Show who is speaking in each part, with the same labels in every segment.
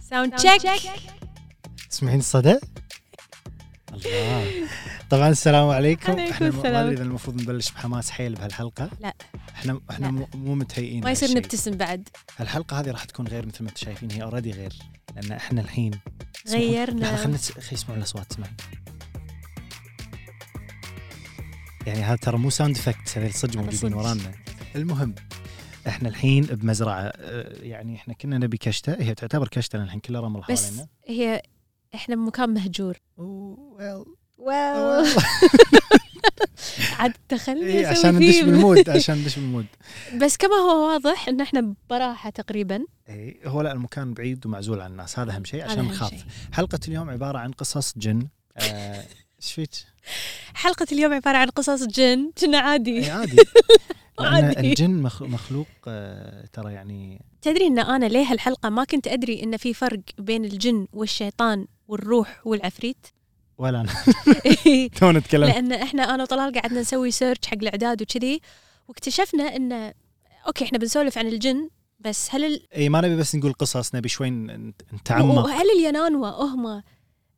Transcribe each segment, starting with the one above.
Speaker 1: ساوند تشيك
Speaker 2: تسمعين الصدى الله طبعا السلام عليكم
Speaker 1: عليكم
Speaker 2: احنا ما- ما
Speaker 1: السلام.
Speaker 2: ادري اذا المفروض نبلش بحماس حيل بهالحلقه
Speaker 1: لا.
Speaker 2: احنا احنا
Speaker 1: لا.
Speaker 2: مو- مو متهيئين
Speaker 1: ما يصير
Speaker 2: لهالشيء.
Speaker 1: نبتسم بعد
Speaker 2: الحلقه هذه راح تكون غير مثل ما انتم شايفين هي اوريدي غير لان احنا الحين اسمعوا-
Speaker 1: غيرنا.
Speaker 2: لحظة، خلينا نس- خلينا يسمعوا الاصوات اسمعي يعني هذا ترى مو ساوند افكت هذول صدق
Speaker 1: هذا
Speaker 2: موجودين
Speaker 1: صدق.
Speaker 2: ورانا المهم احنا الحين بمزرعه اه، يعني احنا كنا نبي كشته هي تعتبر كشته لان الحين كلها رمل
Speaker 1: بس
Speaker 2: حوالينا
Speaker 1: هي احنا بمكان مهجور
Speaker 2: well.
Speaker 1: عاد تخلي
Speaker 2: إيه
Speaker 1: أسوي
Speaker 2: عشان ندش
Speaker 1: theme.
Speaker 2: بالمود عشان ندش بالمود
Speaker 1: بس كما هو واضح ان احنا براحه تقريبا
Speaker 2: إيه هو لا المكان بعيد ومعزول عن الناس هذا اهم شيء
Speaker 1: هذا
Speaker 2: عشان
Speaker 1: أهم
Speaker 2: نخاف
Speaker 1: شيء.
Speaker 2: حلقه اليوم عباره عن قصص جن آه، ايش فيك؟
Speaker 1: حلقه اليوم عباره عن قصص جن كنا
Speaker 2: إيه
Speaker 1: عادي
Speaker 2: عادي لأن
Speaker 1: عادي.
Speaker 2: الجن مخ- مخلوق آه، ترى يعني
Speaker 1: تدري ان انا ليه الحلقه ما كنت ادري ان في فرق بين الجن والشيطان والروح والعفريت
Speaker 2: ولا انا تو نتكلم
Speaker 1: لان احنا انا وطلال قعدنا نسوي سيرش حق الاعداد وكذي واكتشفنا ان اوكي احنا بنسولف عن الجن بس هل ال...
Speaker 2: اي إيه، ما نبي بس نقول قصص نبي شوي ن- نتعمق
Speaker 1: وهل اليانانوا هم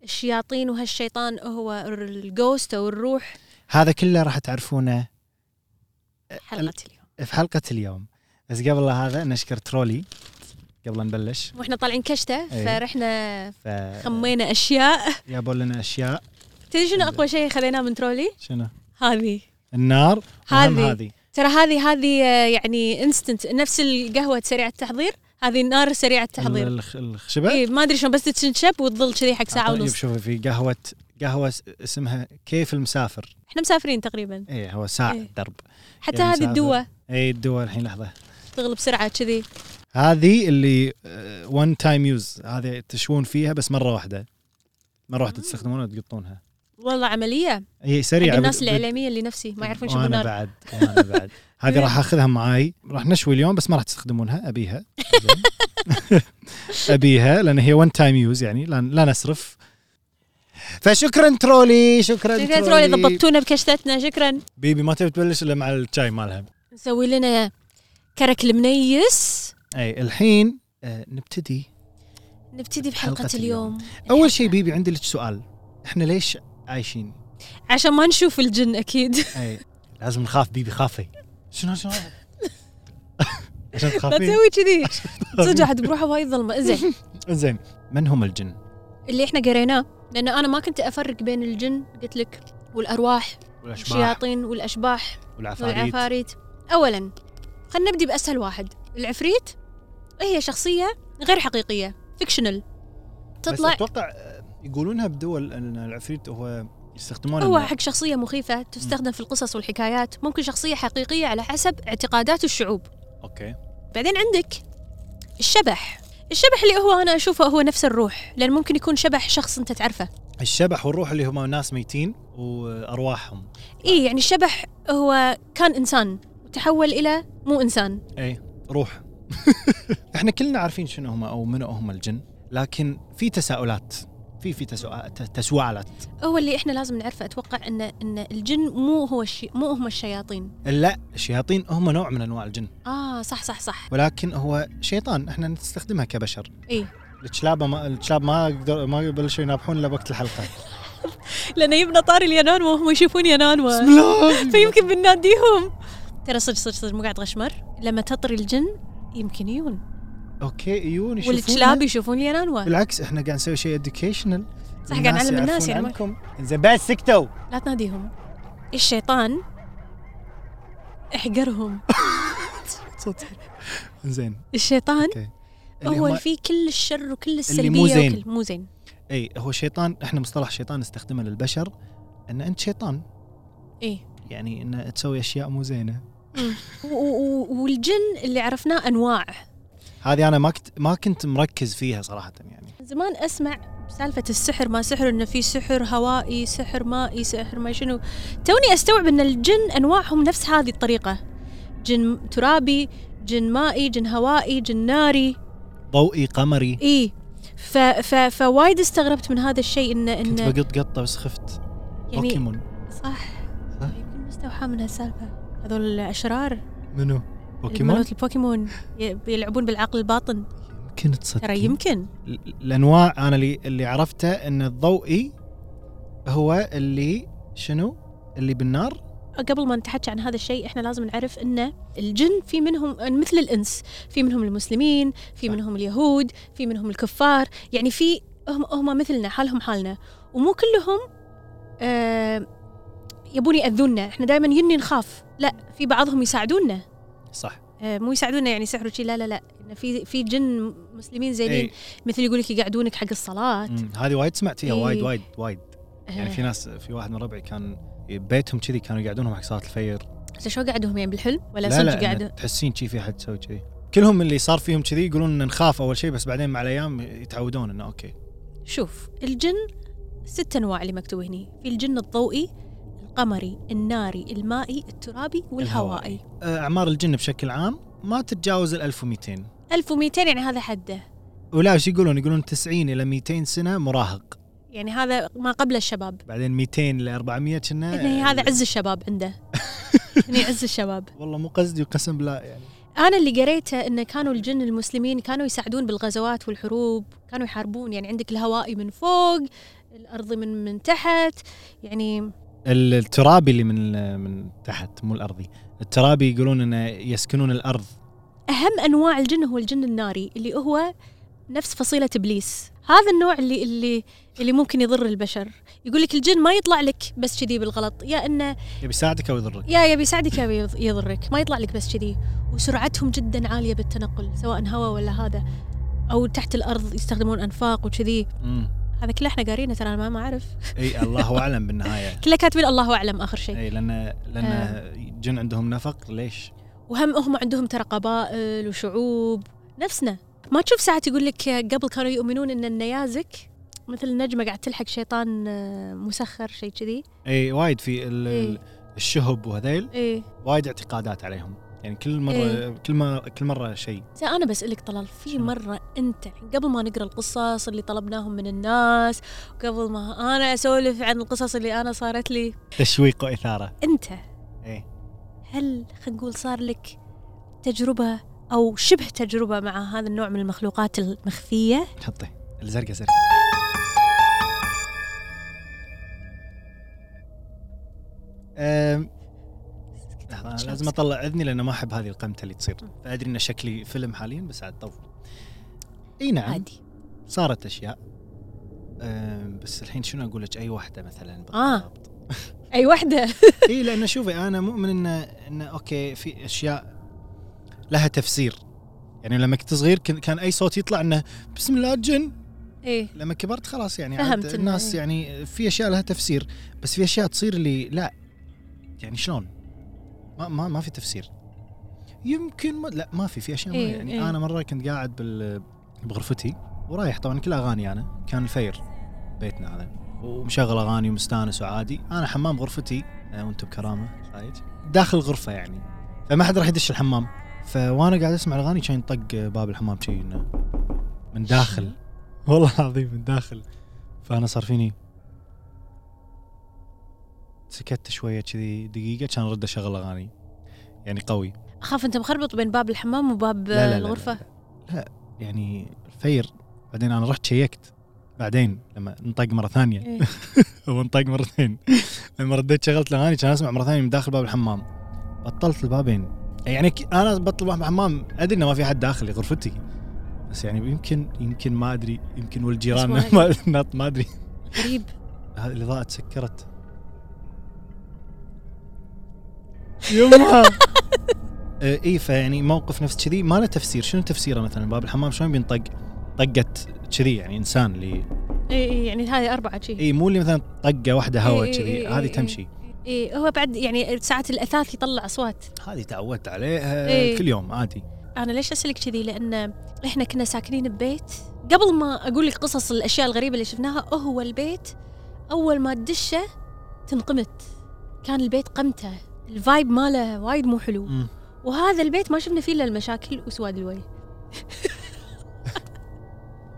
Speaker 1: الشياطين وهالشيطان هو الجوست او الروح
Speaker 2: هذا كله راح تعرفونه
Speaker 1: حلقه اليوم
Speaker 2: في حلقه اليوم بس قبل هذا نشكر ترولي قبل أن نبلش
Speaker 1: واحنا طيب، طالعين كشته
Speaker 2: إيه.
Speaker 1: فرحنا
Speaker 2: ف
Speaker 1: خمينا اشياء
Speaker 2: جابوا لنا اشياء
Speaker 1: تدري شنو اقوى شيء خذيناه من ترولي
Speaker 2: شنو؟
Speaker 1: هذه
Speaker 2: النار وهم
Speaker 1: هذه.
Speaker 2: هذه
Speaker 1: ترى هذه هذه آه، يعني انستنت نفس القهوه سريعه التحضير هذه النار سريعه التحضير
Speaker 2: الخ- الخشبه
Speaker 1: اي ما ادري شلون بس تنشب وتظل كذي حق ساعه
Speaker 2: أعطوني
Speaker 1: ونص
Speaker 2: بشوفه إيه، طيب، في قهوة قهوة س- اسمها كيف المسافر
Speaker 1: احنا مسافرين تقريبا
Speaker 2: ايه هو ساعة
Speaker 1: إيه.
Speaker 2: درب
Speaker 1: حتى
Speaker 2: يعني
Speaker 1: هذه
Speaker 2: مسافر.
Speaker 1: الدوة
Speaker 2: اي الدول الحين لحظة
Speaker 1: تغلب بسرعة كذي
Speaker 2: هذه اللي آه، وان تايم يوز هذه تشوون فيها بس مرة واحدة مرة واحدة
Speaker 1: مم.
Speaker 2: تستخدمونها وتقطونها
Speaker 1: والله عملية
Speaker 2: هي
Speaker 1: حق
Speaker 2: سريعة
Speaker 1: الناس
Speaker 2: بت- بت-
Speaker 1: الإعلامية اللي نفسي ما يعرفون شو إيه.
Speaker 2: وانا
Speaker 1: النار
Speaker 2: بعد وانا بعد هذه راح اخذها معاي راح نشوي اليوم بس ما راح تستخدمونها ابيها زين. ابيها لان هي وان تايم يوز يعني لا, لا نسرف فشكرا ترولي شكرا
Speaker 1: شكراً ترولي
Speaker 2: ترولي
Speaker 1: ضبطتونا بكشتتنا شكرا
Speaker 2: بيبي ما تبي تبلش الا مع الشاي مالها
Speaker 1: نسوي لنا كرك المنيس
Speaker 2: اي الحين آه نبتدي
Speaker 1: نبتدي
Speaker 2: حلقة
Speaker 1: بحلقة اليوم
Speaker 2: اول شيء بيبي عندي لك سؤال احنا ليش عايشين
Speaker 1: عشان ما نشوف الجن أكيد
Speaker 2: اي لازم نخاف بيبي خافي شنو شنو هذا؟ عشان
Speaker 1: لا
Speaker 2: تخافين
Speaker 1: تسوي كذي صدق واحد بروحه وايد ظلمة زين
Speaker 2: زين من هم الجن
Speaker 1: اللي احنا قريناه لأن أنا ما كنت أفرق بين الجن قلت لك والأرواح
Speaker 2: والاشباح
Speaker 1: والشياطين والأشباح
Speaker 2: والعفاريت
Speaker 1: والعفاريت اولا خلينا نبدي باسهل واحد العفريت هي شخصيه غير حقيقيه فيكشنال
Speaker 2: بس
Speaker 1: تطلع
Speaker 2: اتوقع آه، يقولونها بدول ان العفريت هو يستخدمونه
Speaker 1: هو
Speaker 2: من-
Speaker 1: حق شخصيه مخيفه تستخدم في القصص والحكايات ممكن شخصيه حقيقيه على حسب اعتقادات الشعوب
Speaker 2: اوكي
Speaker 1: بعدين عندك الشبح الشبح اللي هو انا اشوفه هو نفس الروح لان ممكن يكون شبح شخص انت تعرفه
Speaker 2: الشبح والروح اللي هم ناس ميتين وارواحهم
Speaker 1: اي يعني الشبح هو كان انسان وتحول الى مو انسان
Speaker 2: اي روح احنا كلنا عارفين شنو هم او منو هم الجن لكن في تساؤلات في في تسوع- ت- تسوعلات
Speaker 1: هو اللي احنا لازم نعرفه اتوقع ان ان الجن مو هو الشي مو هم الشياطين
Speaker 2: لا الشياطين هم نوع من انواع الجن
Speaker 1: اه صح صح صح
Speaker 2: ولكن هو شيطان احنا نستخدمها كبشر
Speaker 1: اي
Speaker 2: الكلاب ما الكلاب ما يقدر ما يبلشوا ينابحون الا وقت الحلقه
Speaker 1: لانه يبنى طار اليانانوا وهم يشوفون
Speaker 2: بسم
Speaker 1: يانانوا
Speaker 2: الله
Speaker 1: فيمكن بناديهم ترى صدق صدق صدق مو قاعد غشمر لما تطري الجن يمكن يجون
Speaker 2: اوكي عيون يشوفون
Speaker 1: والكلاب يشوفون اليانانوا
Speaker 2: بالعكس احنا قاعد نسوي شيء اديوكيشنال
Speaker 1: آه. صح، قاعد نعلم الناس يعني ما-
Speaker 2: عنكم زين بس سكتوا
Speaker 1: لا تناديهم الشيطان احقرهم
Speaker 2: زين
Speaker 1: الشيطان
Speaker 2: اوكي اللي
Speaker 1: هو
Speaker 2: هم-
Speaker 1: اللي فيه كل الشر وكل السلبيه
Speaker 2: اللي مو زين.
Speaker 1: وكل مو زين
Speaker 2: اي هو شيطان احنا مصطلح شيطان نستخدمه للبشر ان انت شيطان
Speaker 1: اي
Speaker 2: يعني ان تسوي اشياء مو زينه
Speaker 1: إيه. و- و- والجن اللي عرفناه انواع
Speaker 2: هذه انا ما كنت ما كنت مركز فيها صراحه يعني
Speaker 1: من زمان اسمع سالفة السحر ما سحر انه في سحر هوائي، سحر مائي، سحر ما شنو. توني استوعب ان الجن انواعهم نفس هذه الطريقة. جن ترابي، جن مائي، جن هوائي، جن ناري،
Speaker 2: ضوئي قمري
Speaker 1: اي. ف ف فوايد استغربت من هذا الشيء انه
Speaker 2: كنت
Speaker 1: انه
Speaker 2: بقط قطه بس خفت يعني
Speaker 1: يعني
Speaker 2: بوكيمون
Speaker 1: صح يمكن مستوحى من هالسالفة. هذول الاشرار
Speaker 2: منو بوكيمون
Speaker 1: مالت البوكيمون ي- يلعبون بالعقل الباطن.
Speaker 2: يمكن تصدق
Speaker 1: ترى يمكن
Speaker 2: الانواع انا اللي اللي عرفته ان الضوئي هو اللي شنو؟ اللي بالنار
Speaker 1: قبل ما نتحكي عن هذا الشيء احنا لازم نعرف ان الجن في منهم مثل الانس في منهم المسلمين في
Speaker 2: صح.
Speaker 1: منهم اليهود في منهم الكفار يعني في هم هم مثلنا حالهم حالنا ومو كلهم آه يبون ياذونا احنا دائما يني نخاف لا في بعضهم يساعدونا
Speaker 2: صح
Speaker 1: آه مو يساعدونا يعني سحر وشي لا لا لا إن في في جن مسلمين زينين
Speaker 2: إي.
Speaker 1: مثل يقول لك يقعدونك حق الصلاه
Speaker 2: إيه. مم، هذه وايد سمعتيها
Speaker 1: إيه.
Speaker 2: وايد وايد وايد يعني
Speaker 1: آه،
Speaker 2: في ناس في واحد من ربعي كان بيتهم كذي كانوا يقعدونهم حق صلاه الفجر
Speaker 1: بس شو قعدهم يعني بالحلم ولا
Speaker 2: لا
Speaker 1: صدق
Speaker 2: لا
Speaker 1: قعدوا
Speaker 2: إن تحسين شي في احد يسوي كذي كلهم اللي صار فيهم كذي يقولون إن نخاف اول شيء بس بعدين مع الايام يتعودون انه اوكي
Speaker 1: شوف الجن ست انواع اللي مكتوب هني في الجن الضوئي القمري الناري المائي الترابي والهوائي
Speaker 2: آه، اعمار الجن بشكل عام ما تتجاوز ال 1200
Speaker 1: 1200 يعني هذا حده
Speaker 2: ولا وش يقولون يقولون 90 الى 200 سنه مراهق
Speaker 1: يعني هذا ما قبل الشباب
Speaker 2: بعدين 200 ل 400 كنا
Speaker 1: يعني هذا عز الشباب عنده يعني عز الشباب
Speaker 2: والله مو قصدي وقسم بالله يعني
Speaker 1: انا اللي قريته انه كانوا الجن المسلمين كانوا يساعدون بالغزوات والحروب كانوا يحاربون يعني عندك الهوائي من فوق الارضي من من تحت يعني
Speaker 2: ال- الترابي اللي من من تحت مو الارضي الترابي يقولون انه يسكنون الارض
Speaker 1: أهم أنواع الجن هو الجن الناري اللي هو نفس فصيلة إبليس هذا النوع اللي اللي اللي ممكن يضر البشر يقول لك الجن ما يطلع لك بس كذي بالغلط يا انه
Speaker 2: يبي يساعدك او يضرك
Speaker 1: يا يبي يساعدك يا يض- يضرك ما يطلع لك بس كذي وسرعتهم جدا عالية بالتنقل سواء هواء ولا هذا أو تحت الأرض يستخدمون أنفاق وكذي
Speaker 2: مم.
Speaker 1: هذا كله احنا قارينه ترى أنا ما- ما أعرف
Speaker 2: اي الله اعلم بالنهايه
Speaker 1: كله كاتبين الله أعلم آخر شيء
Speaker 2: اي لان لان
Speaker 1: آه.
Speaker 2: جن عندهم نفق ليش؟
Speaker 1: وهم هم عندهم ترى قبائل وشعوب نفسنا ما تشوف ساعات يقول لك قبل كانوا يؤمنون ان النيازك مثل النجمه قاعد تلحق شيطان آه، مسخر شيء كذي
Speaker 2: اي وايد في ال-
Speaker 1: إي.
Speaker 2: ال- الشهب وهذيل
Speaker 1: ايه
Speaker 2: وايد اعتقادات عليهم يعني كل مره
Speaker 1: إي.
Speaker 2: كل ما كل مره شيء
Speaker 1: زين انا بسالك طلال في
Speaker 2: شنو؟
Speaker 1: مره انت قبل ما نقرا القصص اللي طلبناهم من الناس وقبل ما انا اسولف عن القصص اللي انا صارت لي
Speaker 2: تشويق واثاره
Speaker 1: انت
Speaker 2: اي
Speaker 1: هل خلينا نقول صار لك تجربه او شبه تجربه مع هذا النوع من المخلوقات المخفيه
Speaker 2: حطي الزرقاء زرقاء أم، لحظة، أنا لازم اطلع اذني لانه ما احب هذه القمته اللي تصير فادري ان شكلي فيلم حاليا بس عاد طول اي نعم
Speaker 1: عادي
Speaker 2: صارت اشياء أم، بس الحين شنو اقول لك اي واحده مثلا بالضبط
Speaker 1: آه. اي وحده
Speaker 2: اي لانه شوفي انا مؤمن انه انه اوكي في اشياء لها تفسير يعني لما كنت صغير كن- كان اي صوت يطلع انه بسم الله الجن
Speaker 1: ايه
Speaker 2: لما كبرت خلاص يعني
Speaker 1: فهمت
Speaker 2: عاد
Speaker 1: إنه
Speaker 2: الناس
Speaker 1: إيه.
Speaker 2: يعني في اشياء لها تفسير بس في اشياء تصير اللي لا يعني شلون؟ ما ما ما في تفسير يمكن ما لا ما في في اشياء ما
Speaker 1: إيه،
Speaker 2: يعني
Speaker 1: إيه.
Speaker 2: انا مره كنت قاعد بال بغرفتي ورايح طبعا كل اغاني انا كان الفير بيتنا هذا ومشغل اغاني ومستانس وعادي انا حمام غرفتي أه، وانتم بكرامه خايج داخل الغرفه يعني فما حد راح يدش الحمام فوانا قاعد اسمع الاغاني كان ينطق باب الحمام شي إنه من داخل والله العظيم من داخل فانا صار فيني سكت شويه كذي دقيقه كان رد اشغل اغاني يعني قوي
Speaker 1: اخاف انت مخربط بين باب الحمام وباب
Speaker 2: لا لا
Speaker 1: الغرفه
Speaker 2: لا, لا, لا يعني الفير بعدين انا رحت شيكت بعدين لما انطق مره ثانيه
Speaker 1: إيه.
Speaker 2: هو انطق مرتين لما رديت شغلت الاغاني كان اسمع مره ثانيه من داخل باب الحمام بطلت البابين يعني ك- انا بطل باب الحمام ادري انه ما في حد داخل غرفتي بس يعني يمكن يمكن ما ادري يمكن والجيران
Speaker 1: بس
Speaker 2: ما ما ادري
Speaker 1: غريب
Speaker 2: هذه الاضاءه تسكرت يما آه، اي فيعني موقف نفس كذي ما له تفسير شنو تفسيره مثلا باب الحمام شلون بينطق طقت كذي يعني انسان اللي
Speaker 1: اي اي يعني هذه اربعه شيء
Speaker 2: اي مو اللي مثلا طقه واحده هواء
Speaker 1: إي- إي-
Speaker 2: كذي
Speaker 1: إي-
Speaker 2: هذه
Speaker 1: إي.
Speaker 2: تمشي
Speaker 1: اي هو بعد يعني ساعات الاثاث يطلع اصوات
Speaker 2: هذه تعودت عليها
Speaker 1: إي.
Speaker 2: كل يوم عادي
Speaker 1: انا ليش اسالك كذي لان احنا كنا ساكنين ببيت قبل ما اقول لك قصص الاشياء الغريبه اللي شفناها هو البيت اول ما تدشه تنقمت كان البيت قمته الفايب ماله وايد مو حلو
Speaker 2: مم.
Speaker 1: وهذا البيت ما شفنا فيه الا المشاكل وسواد الوجه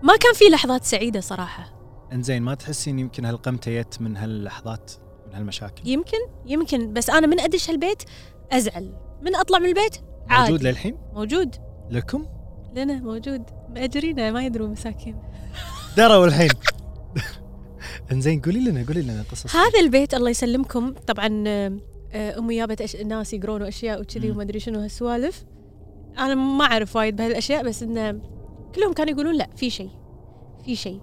Speaker 1: ما كان فيه لحظات سعيده صراحه
Speaker 2: انزين ما تحسين يمكن هالقمته جت من هاللحظات من هالمشاكل
Speaker 1: يمكن يمكن بس انا من ادش هالبيت ازعل من اطلع من البيت عادي
Speaker 2: موجود للحين
Speaker 1: موجود
Speaker 2: لكم
Speaker 1: لنا موجود مأجرينه ما يدرون مساكين
Speaker 2: دروا الحين انزين قولي لنا قولي لنا قصص
Speaker 1: هذا البيت الله يسلمكم طبعا آه، آه، امي جابت أش... ناس يقرون واشياء وكذي
Speaker 2: مم.
Speaker 1: وما ادري شنو هالسوالف انا ما اعرف وايد بهالاشياء بس انه كلهم كانوا يقولون لا في شيء في شيء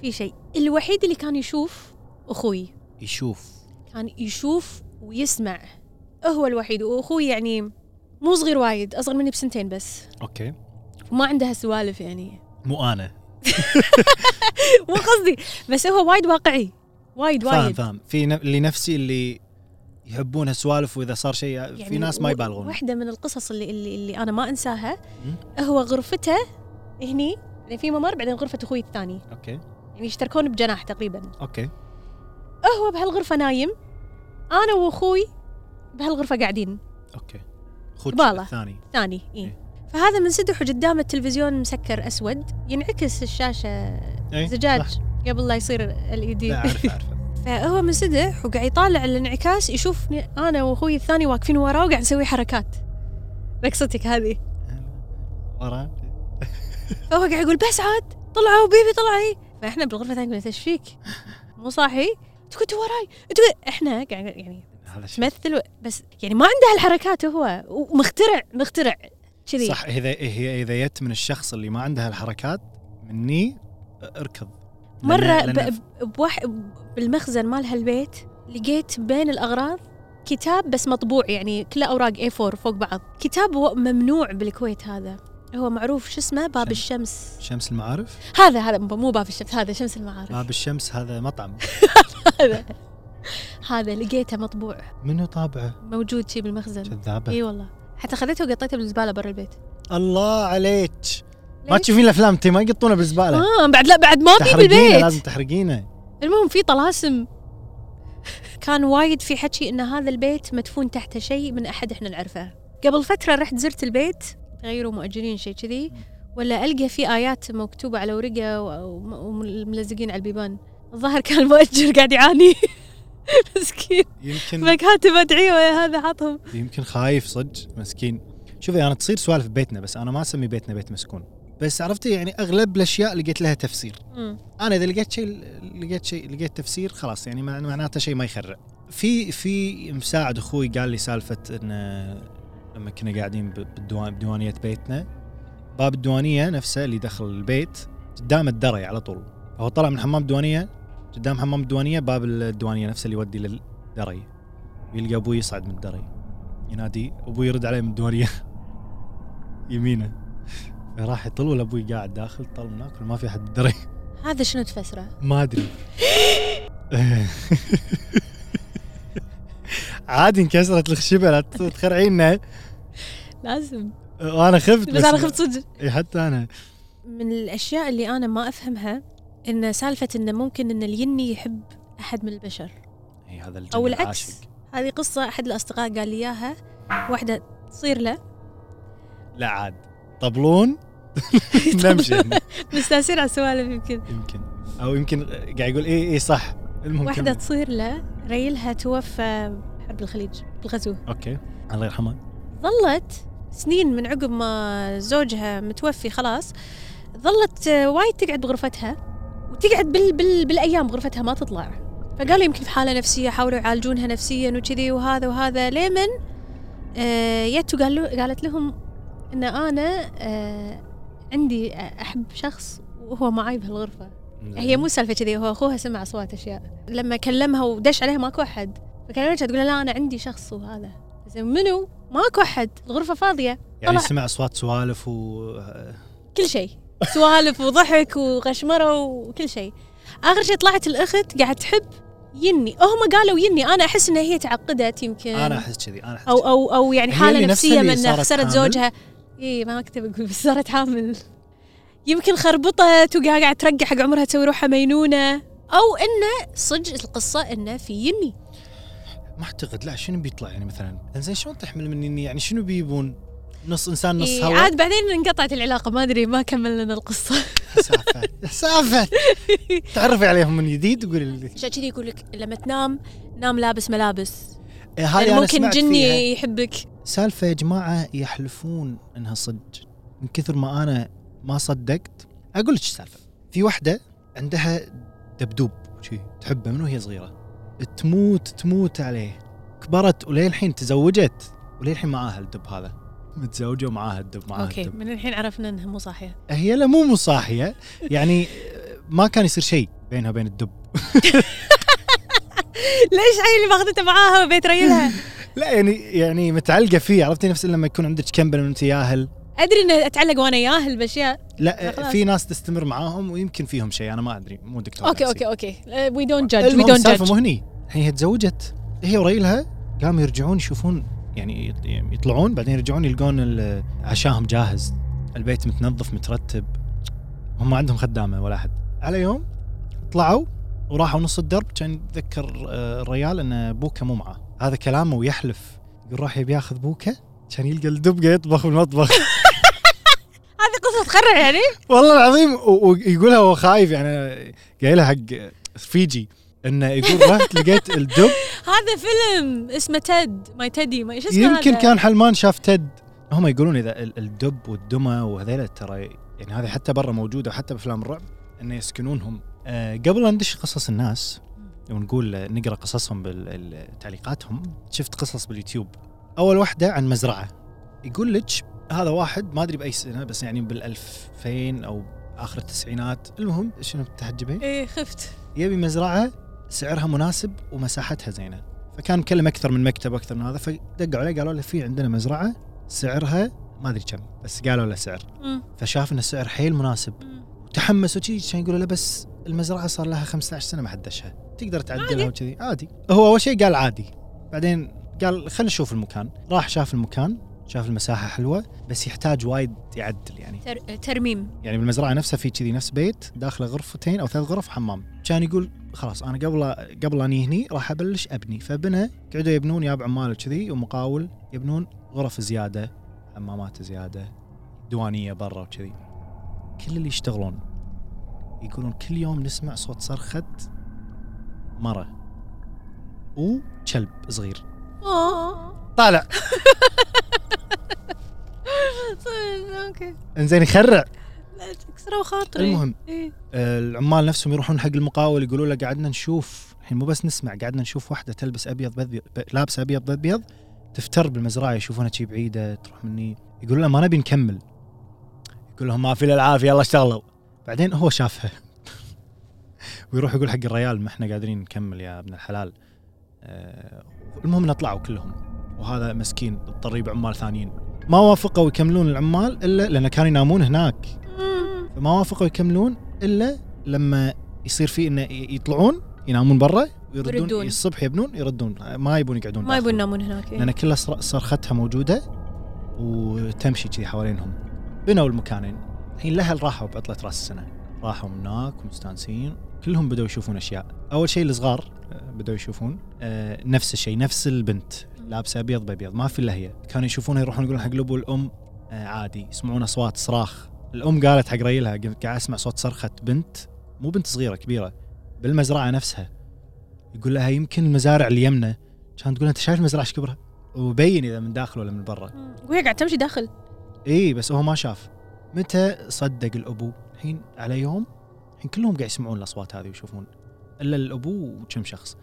Speaker 1: في شيء الوحيد اللي كان يشوف اخوي
Speaker 2: يشوف
Speaker 1: كان يشوف ويسمع هو الوحيد واخوي يعني مو صغير وايد اصغر مني بسنتين بس
Speaker 2: اوكي
Speaker 1: وما عنده هالسوالف يعني
Speaker 2: مو انا
Speaker 1: مو قصدي بس هو وايد واقعي وايد
Speaker 2: فاهم
Speaker 1: وايد
Speaker 2: فاهم في ن- اللي نفسي اللي يحبون هالسوالف واذا صار شيء في ناس ما
Speaker 1: يعني و-
Speaker 2: يبالغون
Speaker 1: واحدة من القصص اللي اللي, اللي أنا ما أنساها
Speaker 2: مم.
Speaker 1: هو غرفته هني يعني في ممر بعدين غرفة أخوي الثاني
Speaker 2: اوكي
Speaker 1: يعني يشتركون بجناح تقريبا
Speaker 2: اوكي
Speaker 1: هو بهالغرفة نايم أنا وأخوي بهالغرفة قاعدين
Speaker 2: اوكي خوش
Speaker 1: بالله.
Speaker 2: الثاني
Speaker 1: ثاني إيه.
Speaker 2: إيه.
Speaker 1: فهذا منسدح وقدامه التلفزيون مسكر أسود ينعكس الشاشة
Speaker 2: إيه،
Speaker 1: زجاج
Speaker 2: صح.
Speaker 1: قبل لا يصير ال اي
Speaker 2: لا
Speaker 1: دي
Speaker 2: اعرف اعرف
Speaker 1: فهو منسدح وقاعد يطالع الانعكاس يشوفني انا واخوي الثاني واقفين وراه وقاعد نسوي حركات رقصتك هذه
Speaker 2: ورا
Speaker 1: فهو قاعد يقول بس عاد طلعوا إيه. بيبي طلعي فاحنا بالغرفه الثانيه قلنا ايش فيك؟ مو صاحي؟ انت كنت وراي انت كنت... احنا قاعد يعني
Speaker 2: هذا شيء
Speaker 1: تمثل و- بس يعني ما عنده هالحركات هو ومخترع مخترع كذي
Speaker 2: صح اذا هي اذا جت من الشخص اللي ما عنده الحركات مني اركض لأن-
Speaker 1: مره
Speaker 2: لأن-
Speaker 1: ب... بواح... بالمخزن مال هالبيت لقيت بين الاغراض كتاب بس مطبوع يعني كله اوراق اي 4 فوق بعض كتاب هو ممنوع بالكويت هذا هو معروف شو اسمه باب
Speaker 2: شمس.
Speaker 1: الشمس
Speaker 2: شمس المعارف
Speaker 1: هذا هذا مو باب الشمس هذا شمس المعارف
Speaker 2: باب الشمس هذا مطعم
Speaker 1: هذا لقيته مطبوع
Speaker 2: منو طابعه
Speaker 1: موجود شي بالمخزن اي
Speaker 2: كذابه
Speaker 1: والله حتى خذيته وقطيته بالزباله برا البيت
Speaker 2: الله عليك ما
Speaker 1: ليش؟
Speaker 2: تشوفين الافلام انت ما يقطونه بالزباله
Speaker 1: اه بعد لا بعد ما في
Speaker 2: تحرقينه
Speaker 1: بالبيت
Speaker 2: لازم تحرقينه
Speaker 1: المهم في طلاسم كان وايد في حكي ان هذا البيت مدفون تحته شيء من احد احنا نعرفه قبل فتره رحت زرت البيت غيروا مؤجرين شيء كذي ولا القى في ايات مكتوبه على ورقه و- و- وملزقين على البيبان الظاهر كان المؤجر قاعد يعاني مسكين
Speaker 2: يمكن
Speaker 1: مكاتبه ادعيه هذا حاطهم
Speaker 2: يمكن خايف صدق مسكين شوفي انا تصير سوالف ببيتنا بس انا ما اسمي بيتنا بيت مسكون بس عرفتي يعني اغلب الاشياء لقيت لها تفسير
Speaker 1: مم.
Speaker 2: انا اذا لقيت شيء لقيت شيء لقيت تفسير خلاص يعني مع- معناته شيء ما يخرع في في مساعد اخوي قال لي سالفه انه لما كنا قاعدين ب- بالدوان بديوانيه بيتنا باب الديوانيه نفسه اللي دخل البيت قدام الدرج على طول هو طلع من حمام الديوانيه قدام حمام الديوانيه باب الديوانيه نفسه اللي يودي للدرج يلقى ابوي يصعد من الدرج ينادي ابوي يرد عليه من الديوانيه يمينه راح يطل ولا ابوي قاعد داخل طل من هناك ما في احد بالدرج
Speaker 1: هذا شنو تفسره؟
Speaker 2: ما ادري عادي انكسرت الخشبه لا تخرعينا
Speaker 1: لازم
Speaker 2: وانا خفت
Speaker 1: بس انا خفت صدق
Speaker 2: إي حتى انا
Speaker 1: من الاشياء اللي انا ما افهمها ان سالفه انه ممكن ان اليني يحب احد من البشر
Speaker 2: اي هذا الجن
Speaker 1: او العكس
Speaker 2: العاشق.
Speaker 1: هذه قصه احد الاصدقاء قال لي اياها واحده تصير له
Speaker 2: لا عاد طبلون نمشي
Speaker 1: مستانسين على السوالف يمكن
Speaker 2: يمكن او يمكن قاعد يقول اي اي صح المهم
Speaker 1: واحده
Speaker 2: كمل.
Speaker 1: تصير له ريلها توفى حرب الخليج بالغزو
Speaker 2: اوكي الله يرحمه
Speaker 1: ظلت سنين من عقب ما زوجها متوفي خلاص ظلت آه، وايد تقعد بغرفتها وتقعد بال بال بالايام غرفتها ما تطلع فقالوا يمكن في حاله نفسيه حاولوا يعالجونها نفسيا وكذي وهذا وهذا ليمن آه، يتو قال له قالت لهم ان انا آه، عندي احب شخص وهو معاي بهالغرفه هي مو سالفه كذي هو اخوها سمع اصوات اشياء لما كلمها ودش عليها ماكو احد فكلمتها تقول لا انا عندي شخص وهذا زين منو ماكو احد الغرفه فاضيه
Speaker 2: يعني
Speaker 1: طلع.
Speaker 2: سمع اصوات سوالف و
Speaker 1: كل شيء سوالف وضحك وغشمره وكل شيء اخر شيء طلعت الاخت قاعد تحب يني هم قالوا يني انا احس ان هي تعقدت يمكن
Speaker 2: انا احس كذي انا احس
Speaker 1: او
Speaker 2: كذي.
Speaker 1: او او يعني
Speaker 2: هي
Speaker 1: حاله
Speaker 2: اللي نفسها
Speaker 1: نفسيه
Speaker 2: اللي
Speaker 1: من إنها
Speaker 2: صارت
Speaker 1: خسرت
Speaker 2: حامل؟
Speaker 1: زوجها اي ما كنت بقول بس صارت حامل يمكن خربطت وقاعد قاعد ترقع حق عمرها تسوي روحها مينونه او انه صدق القصه انه في يني
Speaker 2: ما اعتقد لا شنو بيطلع يعني مثلا زين شلون تحمل مني يعني شنو بيبون نص انسان نص
Speaker 1: إي،
Speaker 2: هواء
Speaker 1: إيه، عاد بعدين انقطعت العلاقه ما ادري ما كمل لنا القصه
Speaker 2: سافت سافت تعرفي عليهم من جديد وقولي لي
Speaker 1: عشان كذي يقول لك لما تنام نام لابس ملابس
Speaker 2: إيه،
Speaker 1: يعني
Speaker 2: هذه انا
Speaker 1: ممكن
Speaker 2: سمعت
Speaker 1: جني
Speaker 2: فيها
Speaker 1: يحبك
Speaker 2: سالفه يا جماعه يحلفون انها صدق من كثر ما انا ما صدقت اقول لك السالفه في وحده عندها دبدوب شي تحبه من وهي صغيره تموت تموت عليه كبرت وللحين تزوجت وللحين معاها الدب هذا متزوجه ومعاها الدب معاها
Speaker 1: اوكي
Speaker 2: الدب
Speaker 1: من الحين عرفنا انها مو صاحيه
Speaker 2: هي لا مو مصاحيه يعني ما كان يصير شيء بينها وبين الدب
Speaker 1: ليش عيل اللي ماخذته معاها وبيت ريلها
Speaker 2: لا يعني يعني متعلقه فيه عرفتي نفس لما يكون عندك كم بني انت ياهل
Speaker 1: ادري انه اتعلق وانا ياهل باشياء
Speaker 2: لا
Speaker 1: خلاص.
Speaker 2: في ناس تستمر معاهم ويمكن فيهم شيء انا ما ادري مو دكتور
Speaker 1: اوكي
Speaker 2: نفسي.
Speaker 1: اوكي اوكي وي دونت جادج وي
Speaker 2: المهم
Speaker 1: دونت
Speaker 2: السالفة
Speaker 1: جادج
Speaker 2: مو هني الحين هي تزوجت هي وريلها قاموا يرجعون يشوفون يعني يط- يعني يطلعون بعدين يرجعون يلقون ال- عشاهم جاهز البيت متنظف مترتب هم ما عندهم خدامه ولا احد على يوم طلعوا وراحوا نص الدرب كان يتذكر آه، الريال ان بوكه مو معاه هذا كلامه ويحلف يقول راح يبي ياخذ بوكه كان يلقى الدبقه يطبخ بالمطبخ
Speaker 1: هذه قصه خرع يعني
Speaker 2: والله العظيم و- ويقولها وهو خايف يعني قايلها حق فيجي انه يقول رحت لقيت الدب
Speaker 1: هذا فيلم اسمه تد ماي تدي ما ايش اسمه
Speaker 2: يمكن
Speaker 1: هذا؟
Speaker 2: كان حلمان شاف تد هم يقولون اذا ال- الدب والدمى وهذيلا ترى يعني هذه حتى برا موجوده وحتى بافلام الرعب انه يسكنونهم آه قبل لا ندش قصص الناس ونقول آه، نقرا قصصهم بتعليقاتهم شفت قصص باليوتيوب اول واحده عن مزرعه يقول لك هذا واحد ما ادري باي سنه بس يعني بال2000 او اخر التسعينات المهم شنو بتحجبين
Speaker 1: ايه خفت
Speaker 2: يبي مزرعه سعرها مناسب ومساحتها زينه فكان مكلم اكثر من مكتب واكثر من هذا فدقوا عليه قالوا له في عندنا مزرعه سعرها ما ادري كم بس قالوا له سعر
Speaker 1: مم.
Speaker 2: فشاف ان السعر حيل مناسب
Speaker 1: مم.
Speaker 2: وتحمس وشي كان يقول له بس المزرعه صار لها 15 سنه ما حد دشها تقدر تعدلها
Speaker 1: عادي.
Speaker 2: وكذي عادي هو اول شيء قال عادي بعدين قال خلينا نشوف المكان راح شاف المكان شاف المساحه حلوه بس يحتاج وايد يعدل يعني
Speaker 1: تر- ترميم
Speaker 2: يعني بالمزرعه نفسها في كذي نفس بيت داخله غرفتين او ثلاث غرف حمام كان يقول خلاص انا قبل قبل اني هني راح ابلش ابني فبنى قعدوا يبنون ياب عمال كذي ومقاول يبنون غرف زياده حمامات زياده دوانيه برا وكذي كل اللي يشتغلون يقولون كل يوم نسمع صوت صرخه مره وكلب صغير
Speaker 1: اه
Speaker 2: طالع
Speaker 1: اوكي
Speaker 2: انزين يخرع
Speaker 1: آه. طيب، لا تكسروا خاطري
Speaker 2: المهم
Speaker 1: إيه.
Speaker 2: العمال نفسهم يروحون حق المقاول يقولوا له قعدنا نشوف الحين مو بس نسمع قعدنا نشوف واحده تلبس ابيض بأبيض لابسه ابيض بأبيض تفتر بالمزرعه يشوفونها شي بعيده تروح مني يقولوا له ما نبي نكمل يقول لهم ما في الا العافيه يلا اشتغلوا بعدين هو شافها ويروح يقول حق الريال ما احنا قادرين نكمل يا ابن الحلال آه، المهم نطلعوا كلهم وهذا مسكين اضطر يجيب عمال ثانيين ما وافقوا يكملون العمال الا لان كانوا ينامون هناك
Speaker 1: مم.
Speaker 2: فما وافقوا يكملون الا لما يصير في انه ي- يطلعون ينامون برا ويردون
Speaker 1: ويردون.
Speaker 2: الصبح يبنون يردون ما يبون يقعدون
Speaker 1: ما يبون
Speaker 2: داخل.
Speaker 1: ينامون هناك إيه.
Speaker 2: لان كلها صر- صرختها موجوده وتمشي كذي حوالينهم بنوا المكانين الحين الاهل راحوا بعطله راس السنه راحوا من هناك ومستانسين كلهم بدأوا يشوفون اشياء اول شيء الصغار آه، بدأوا يشوفون آه، نفس الشيء نفس البنت لابسه ابيض بابيض ما في الا هي كانوا يشوفونها يروحون يقولون حق الابو والام آه، عادي يسمعون اصوات صراخ الام قالت حق ريلها قمت قاعد اسمع صوت صرخه بنت مو بنت صغيره كبيره بالمزرعه نفسها يقول لها يمكن المزارع اليمنى كانت تقول انت شايف المزرعه ايش كبرها وبين اذا من داخل ولا من برا
Speaker 1: مم. وهي قاعد تمشي داخل
Speaker 2: اي بس هو ما شاف متى صدق الابو الحين على يوم الحين كلهم قاعد يسمعون الاصوات هذه ويشوفون الا الابو وكم شخص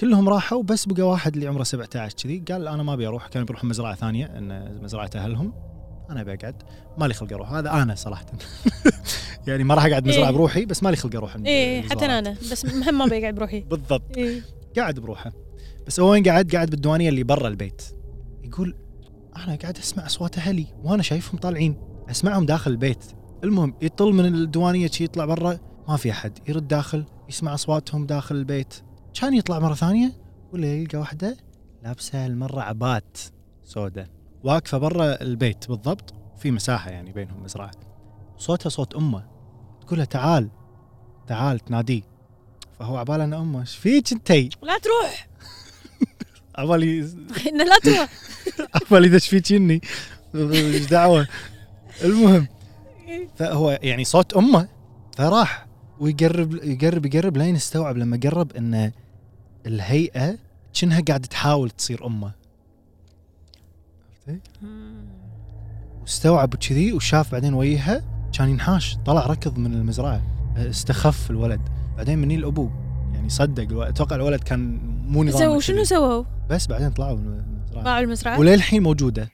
Speaker 2: كلهم راحوا بس بقى واحد اللي عمره 17 كذي قال انا ما ابي اروح كان بيروح مزرعه ثانيه ان مزرعه اهلهم انا بقعد مالي خلق اروح هذا انا صراحه يعني ما راح اقعد مزرعه
Speaker 1: إيه.
Speaker 2: بروحي بس مالي خلق اروح
Speaker 1: ايه
Speaker 2: المزرعة.
Speaker 1: حتى انا بس مهم ما بقعد بروحي
Speaker 2: بالضبط
Speaker 1: ايه
Speaker 2: قاعد بروحه بس هو وين قاعد قاعد بالديوانيه اللي برا البيت يقول انا قاعد اسمع اصوات اهلي وانا شايفهم طالعين اسمعهم داخل البيت المهم يطل من الديوانيه شي يطلع برا ما في احد يرد داخل يسمع اصواتهم داخل البيت كان يطلع مره ثانيه ولا يلقى واحده لابسه هالمره عبات سوداء واقفه برا البيت بالضبط في مساحه يعني بينهم مزرعه صوتها صوت امه تقول لها تعال تعال تناديه فهو عباله ان امه ايش فيك انتي؟
Speaker 1: لا تروح
Speaker 2: عبالي
Speaker 1: انه لا تروح
Speaker 2: عبالي دش فيك اني ايش دعوه المهم فهو يعني صوت امه فراح ويقرب يقرب يقرب لين استوعب لما قرب ان الهيئه كأنها قاعده تحاول تصير امه استوعب كذي وشاف بعدين وجهها كان ينحاش طلع ركض من المزرعه استخف الولد بعدين مني الابو يعني صدق الولد. اتوقع الولد كان مو نظام
Speaker 1: سووا شنو سووا؟
Speaker 2: بس بعدين طلعوا من المزرعه
Speaker 1: باعوا المزرعه؟
Speaker 2: وللحين موجوده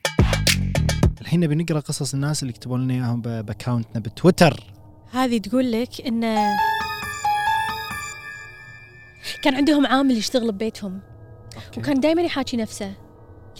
Speaker 2: الحين نبي نقرا قصص الناس اللي كتبوا لنا اياهم ب- باكاونتنا بتويتر
Speaker 1: هذه تقول لك ان كان عندهم عامل يشتغل ببيتهم
Speaker 2: أوكي.
Speaker 1: وكان دائما يحاكي نفسه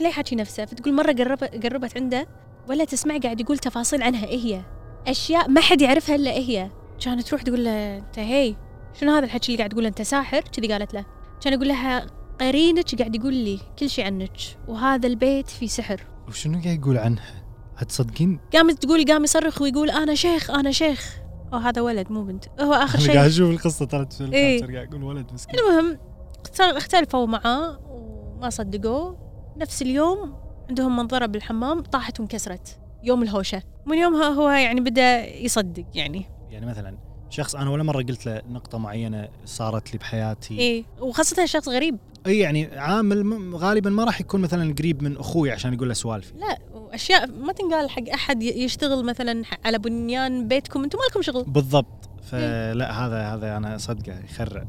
Speaker 1: لا يحاكي نفسه فتقول مره قرب قربت عنده ولا تسمع قاعد يقول تفاصيل عنها ايه هي اشياء ما حد يعرفها الا ايه هي كانت تروح تقول له انت هي شنو هذا الحكي اللي قاعد تقوله انت ساحر كذي قالت له كان يقول لها قرينك قاعد يقول لي كل شيء عنك وهذا البيت فيه سحر
Speaker 2: وشنو قاعد يقول عنها هتصدقين
Speaker 1: قامت تقول قام يصرخ ويقول انا شيخ انا شيخ او هذا ولد مو بنت هو اخر
Speaker 2: انا قاعد
Speaker 1: شيء
Speaker 2: اشوف القصه طلعت في
Speaker 1: إيه.
Speaker 2: الكابتشر قاعد اقول ولد مسكين
Speaker 1: المهم اختل- اختلفوا معاه وما صدقوه نفس اليوم عندهم منظره بالحمام طاحت وانكسرت يوم الهوشه من يومها هو يعني بدا يصدق يعني
Speaker 2: يعني مثلا شخص انا ولا مره قلت له نقطه معينه صارت لي بحياتي
Speaker 1: ايه وخاصه شخص غريب
Speaker 2: اي يعني عامل م- غالبا ما راح يكون مثلا قريب من اخوي عشان يقول له سوالفي
Speaker 1: لا واشياء ما تنقال حق احد ي- يشتغل مثلا ح- على بنيان بيتكم انتم مالكم شغل
Speaker 2: بالضبط فلا
Speaker 1: إيه.
Speaker 2: هذا هذا انا صدقه يخرع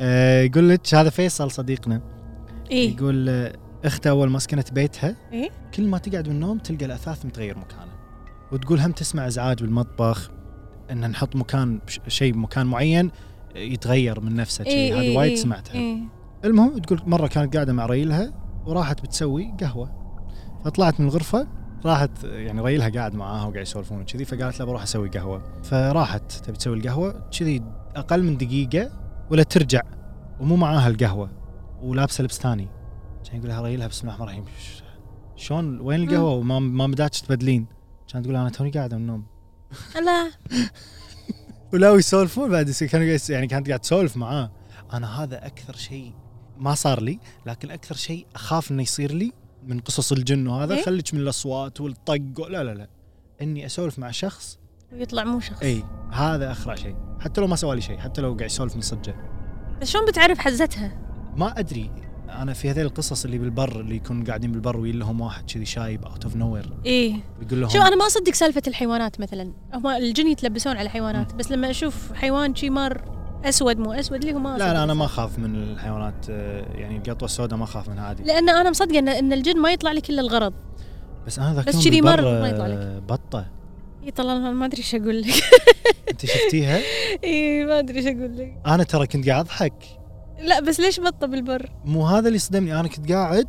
Speaker 2: أه يقول لك هذا فيصل صديقنا
Speaker 1: ايه
Speaker 2: يقول آه، اخته اول ما سكنت بيتها
Speaker 1: إيه؟
Speaker 2: كل ما تقعد من النوم تلقى الاثاث متغير مكانه وتقول هم تسمع ازعاج بالمطبخ ان نحط مكان ش- شيء بمكان معين آه، يتغير من نفسه
Speaker 1: إيه،
Speaker 2: شيء هذه
Speaker 1: إيه،
Speaker 2: وايد
Speaker 1: إيه،
Speaker 2: سمعتها
Speaker 1: ايه
Speaker 2: المهم تقول مره كانت قاعده مع ريلها وراحت بتسوي قهوه فطلعت من الغرفه راحت يعني ريلها قاعد معاها وقاعد يسولفون وكذي فقالت له بروح اسوي قهوه فراحت تبي تسوي القهوه كذي اقل من دقيقه ولا ترجع ومو معاها القهوه ولابسه لبس ثاني كان يقول لها ريلها بسم الله الرحمن الرحيم ش- شلون وين القهوه وما ما بداتش تبدلين كانت تقول انا توني قاعده من النوم
Speaker 1: لا
Speaker 2: ولا يسولفون بعد يصير- كانوا قاعد- يعني كانت قاعد تسولف معاه انا هذا اكثر شيء ما صار لي لكن اكثر شيء اخاف انه يصير لي من قصص الجن وهذا
Speaker 1: إيه؟
Speaker 2: خليك من الاصوات والطق و- لا لا لا اني اسولف مع شخص
Speaker 1: ويطلع مو شخص
Speaker 2: اي هذا اخرع شيء حتى لو ما سوى لي شيء حتى لو قاعد يسولف من صدقه
Speaker 1: بس شلون بتعرف حزتها
Speaker 2: ما ادري انا في هذه القصص اللي بالبر اللي يكون قاعدين بالبر ويجي لهم واحد كذي شايب اوت اوف نوير
Speaker 1: ايه
Speaker 2: يقول لهم
Speaker 1: شو انا ما اصدق سالفه الحيوانات مثلا هم الجن يتلبسون على حيوانات بس لما اشوف حيوان شي مار اسود مو اسود ليه هو ما
Speaker 2: لا
Speaker 1: أصدق.
Speaker 2: لا انا ما اخاف من الحيوانات آه، يعني القطوه السوداء ما اخاف منها عادي
Speaker 1: لان انا مصدقه ان, إن الجن ما يطلع لك الا الغرض
Speaker 2: بس انا ذاك
Speaker 1: بس
Speaker 2: يوم
Speaker 1: كذي
Speaker 2: بالبر،
Speaker 1: مرة ما يطلع لك.
Speaker 2: آه، بطه
Speaker 1: اي طلع أنا ما ادري ايش اقول لك
Speaker 2: انت شفتيها؟
Speaker 1: اي ما ادري ايش اقول لك
Speaker 2: انا ترى كنت قاعد اضحك
Speaker 1: لا بس ليش بطه بالبر
Speaker 2: مو هذا اللي صدمني انا كنت قاعد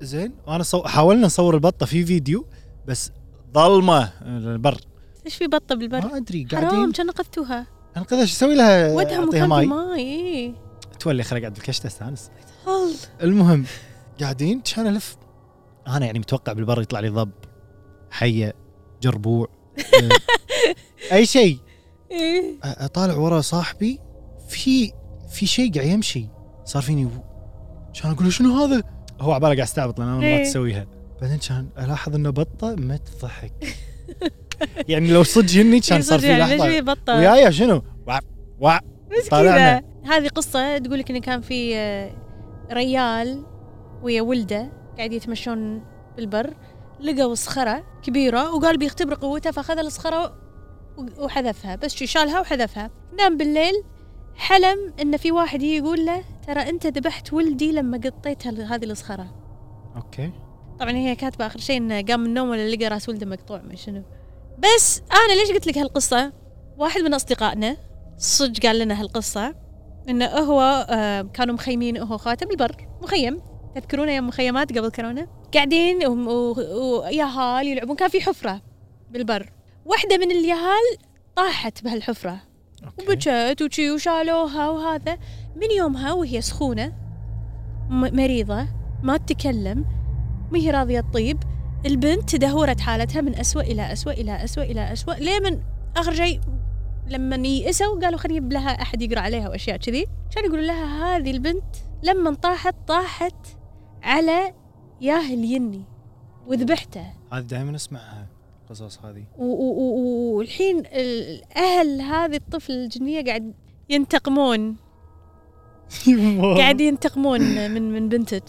Speaker 2: زين وانا صو... حاولنا نصور البطه في فيديو بس ظلمه البر
Speaker 1: ليش في بطه بالبر
Speaker 2: ما ادري قاعدين
Speaker 1: حرام كان قتوها
Speaker 2: انقذها شو اسوي لها؟
Speaker 1: ودها
Speaker 2: أعطيها
Speaker 1: مكان
Speaker 2: ماي
Speaker 1: ماي اي
Speaker 2: تولي خلق قاعد بالكشته استانس
Speaker 1: الله
Speaker 2: المهم قاعدين كان الف انا يعني متوقع بالبر يطلع لي ضب حيه جربوع آه، اي شيء
Speaker 1: اي
Speaker 2: أ- اطالع ورا صاحبي في في شيء قاعد يمشي صار فيني كان اقول له شنو هذا؟ هو عباله قاعد استعبط لان انا
Speaker 1: إيه.
Speaker 2: مرات اسويها بعدين كان الاحظ انه بطه ما تضحك يعني لو صدق هني كان صار في
Speaker 1: يعني ليش في
Speaker 2: لحظه
Speaker 1: بطه
Speaker 2: وياي شنو؟ وع وع
Speaker 1: بس
Speaker 2: طالعنا.
Speaker 1: كذا هذه قصة تقول لك انه كان في آه، ريال ويا ولده قاعد يتمشون بالبر لقوا صخرة كبيرة وقال بيختبر قوتها فأخذ الصخرة و- وحذفها بس شي شالها وحذفها نام بالليل حلم إن في واحد يجي يقول له ترى أنت ذبحت ولدي لما قطيت هال- هذه الصخرة
Speaker 2: اوكي
Speaker 1: طبعا هي كاتبة آخر شيء إنه قام من النوم ولا لقى راس ولده مقطوع ما شنو بس أنا ليش قلت لك هالقصة واحد من أصدقائنا صدق قال لنا هالقصة إنه هو آه، كانوا مخيمين هو خاته بالبر مخيم تذكرونه يوم مخيمات قبل كورونا قاعدين وم- و- وياهال يلعبون كان في حفرة بالبر واحدة من اليهال طاحت بهالحفرة
Speaker 2: اوكي
Speaker 1: وبكت وشي وشالوها وهذا من يومها وهي سخونة م- مريضة ما تتكلم ما هي راضية تطيب البنت تدهورت حالتها من أسوأ إلى أسوأ إلى أسوأ إلى أسوأ ليه من آخر شيء لما يئسوا قالوا خلينا نجيب لها أحد يقرأ عليها وأشياء كذي كان يقولوا لها هذه البنت لما طاحت طاحت على ياهل يني وذبحته
Speaker 2: هذه دائما اسمعها القصص هذه
Speaker 1: و- و- و- والحين الاهل هذه الطفل الجنيه قاعد ينتقمون قاعد ينتقمون من من بنتك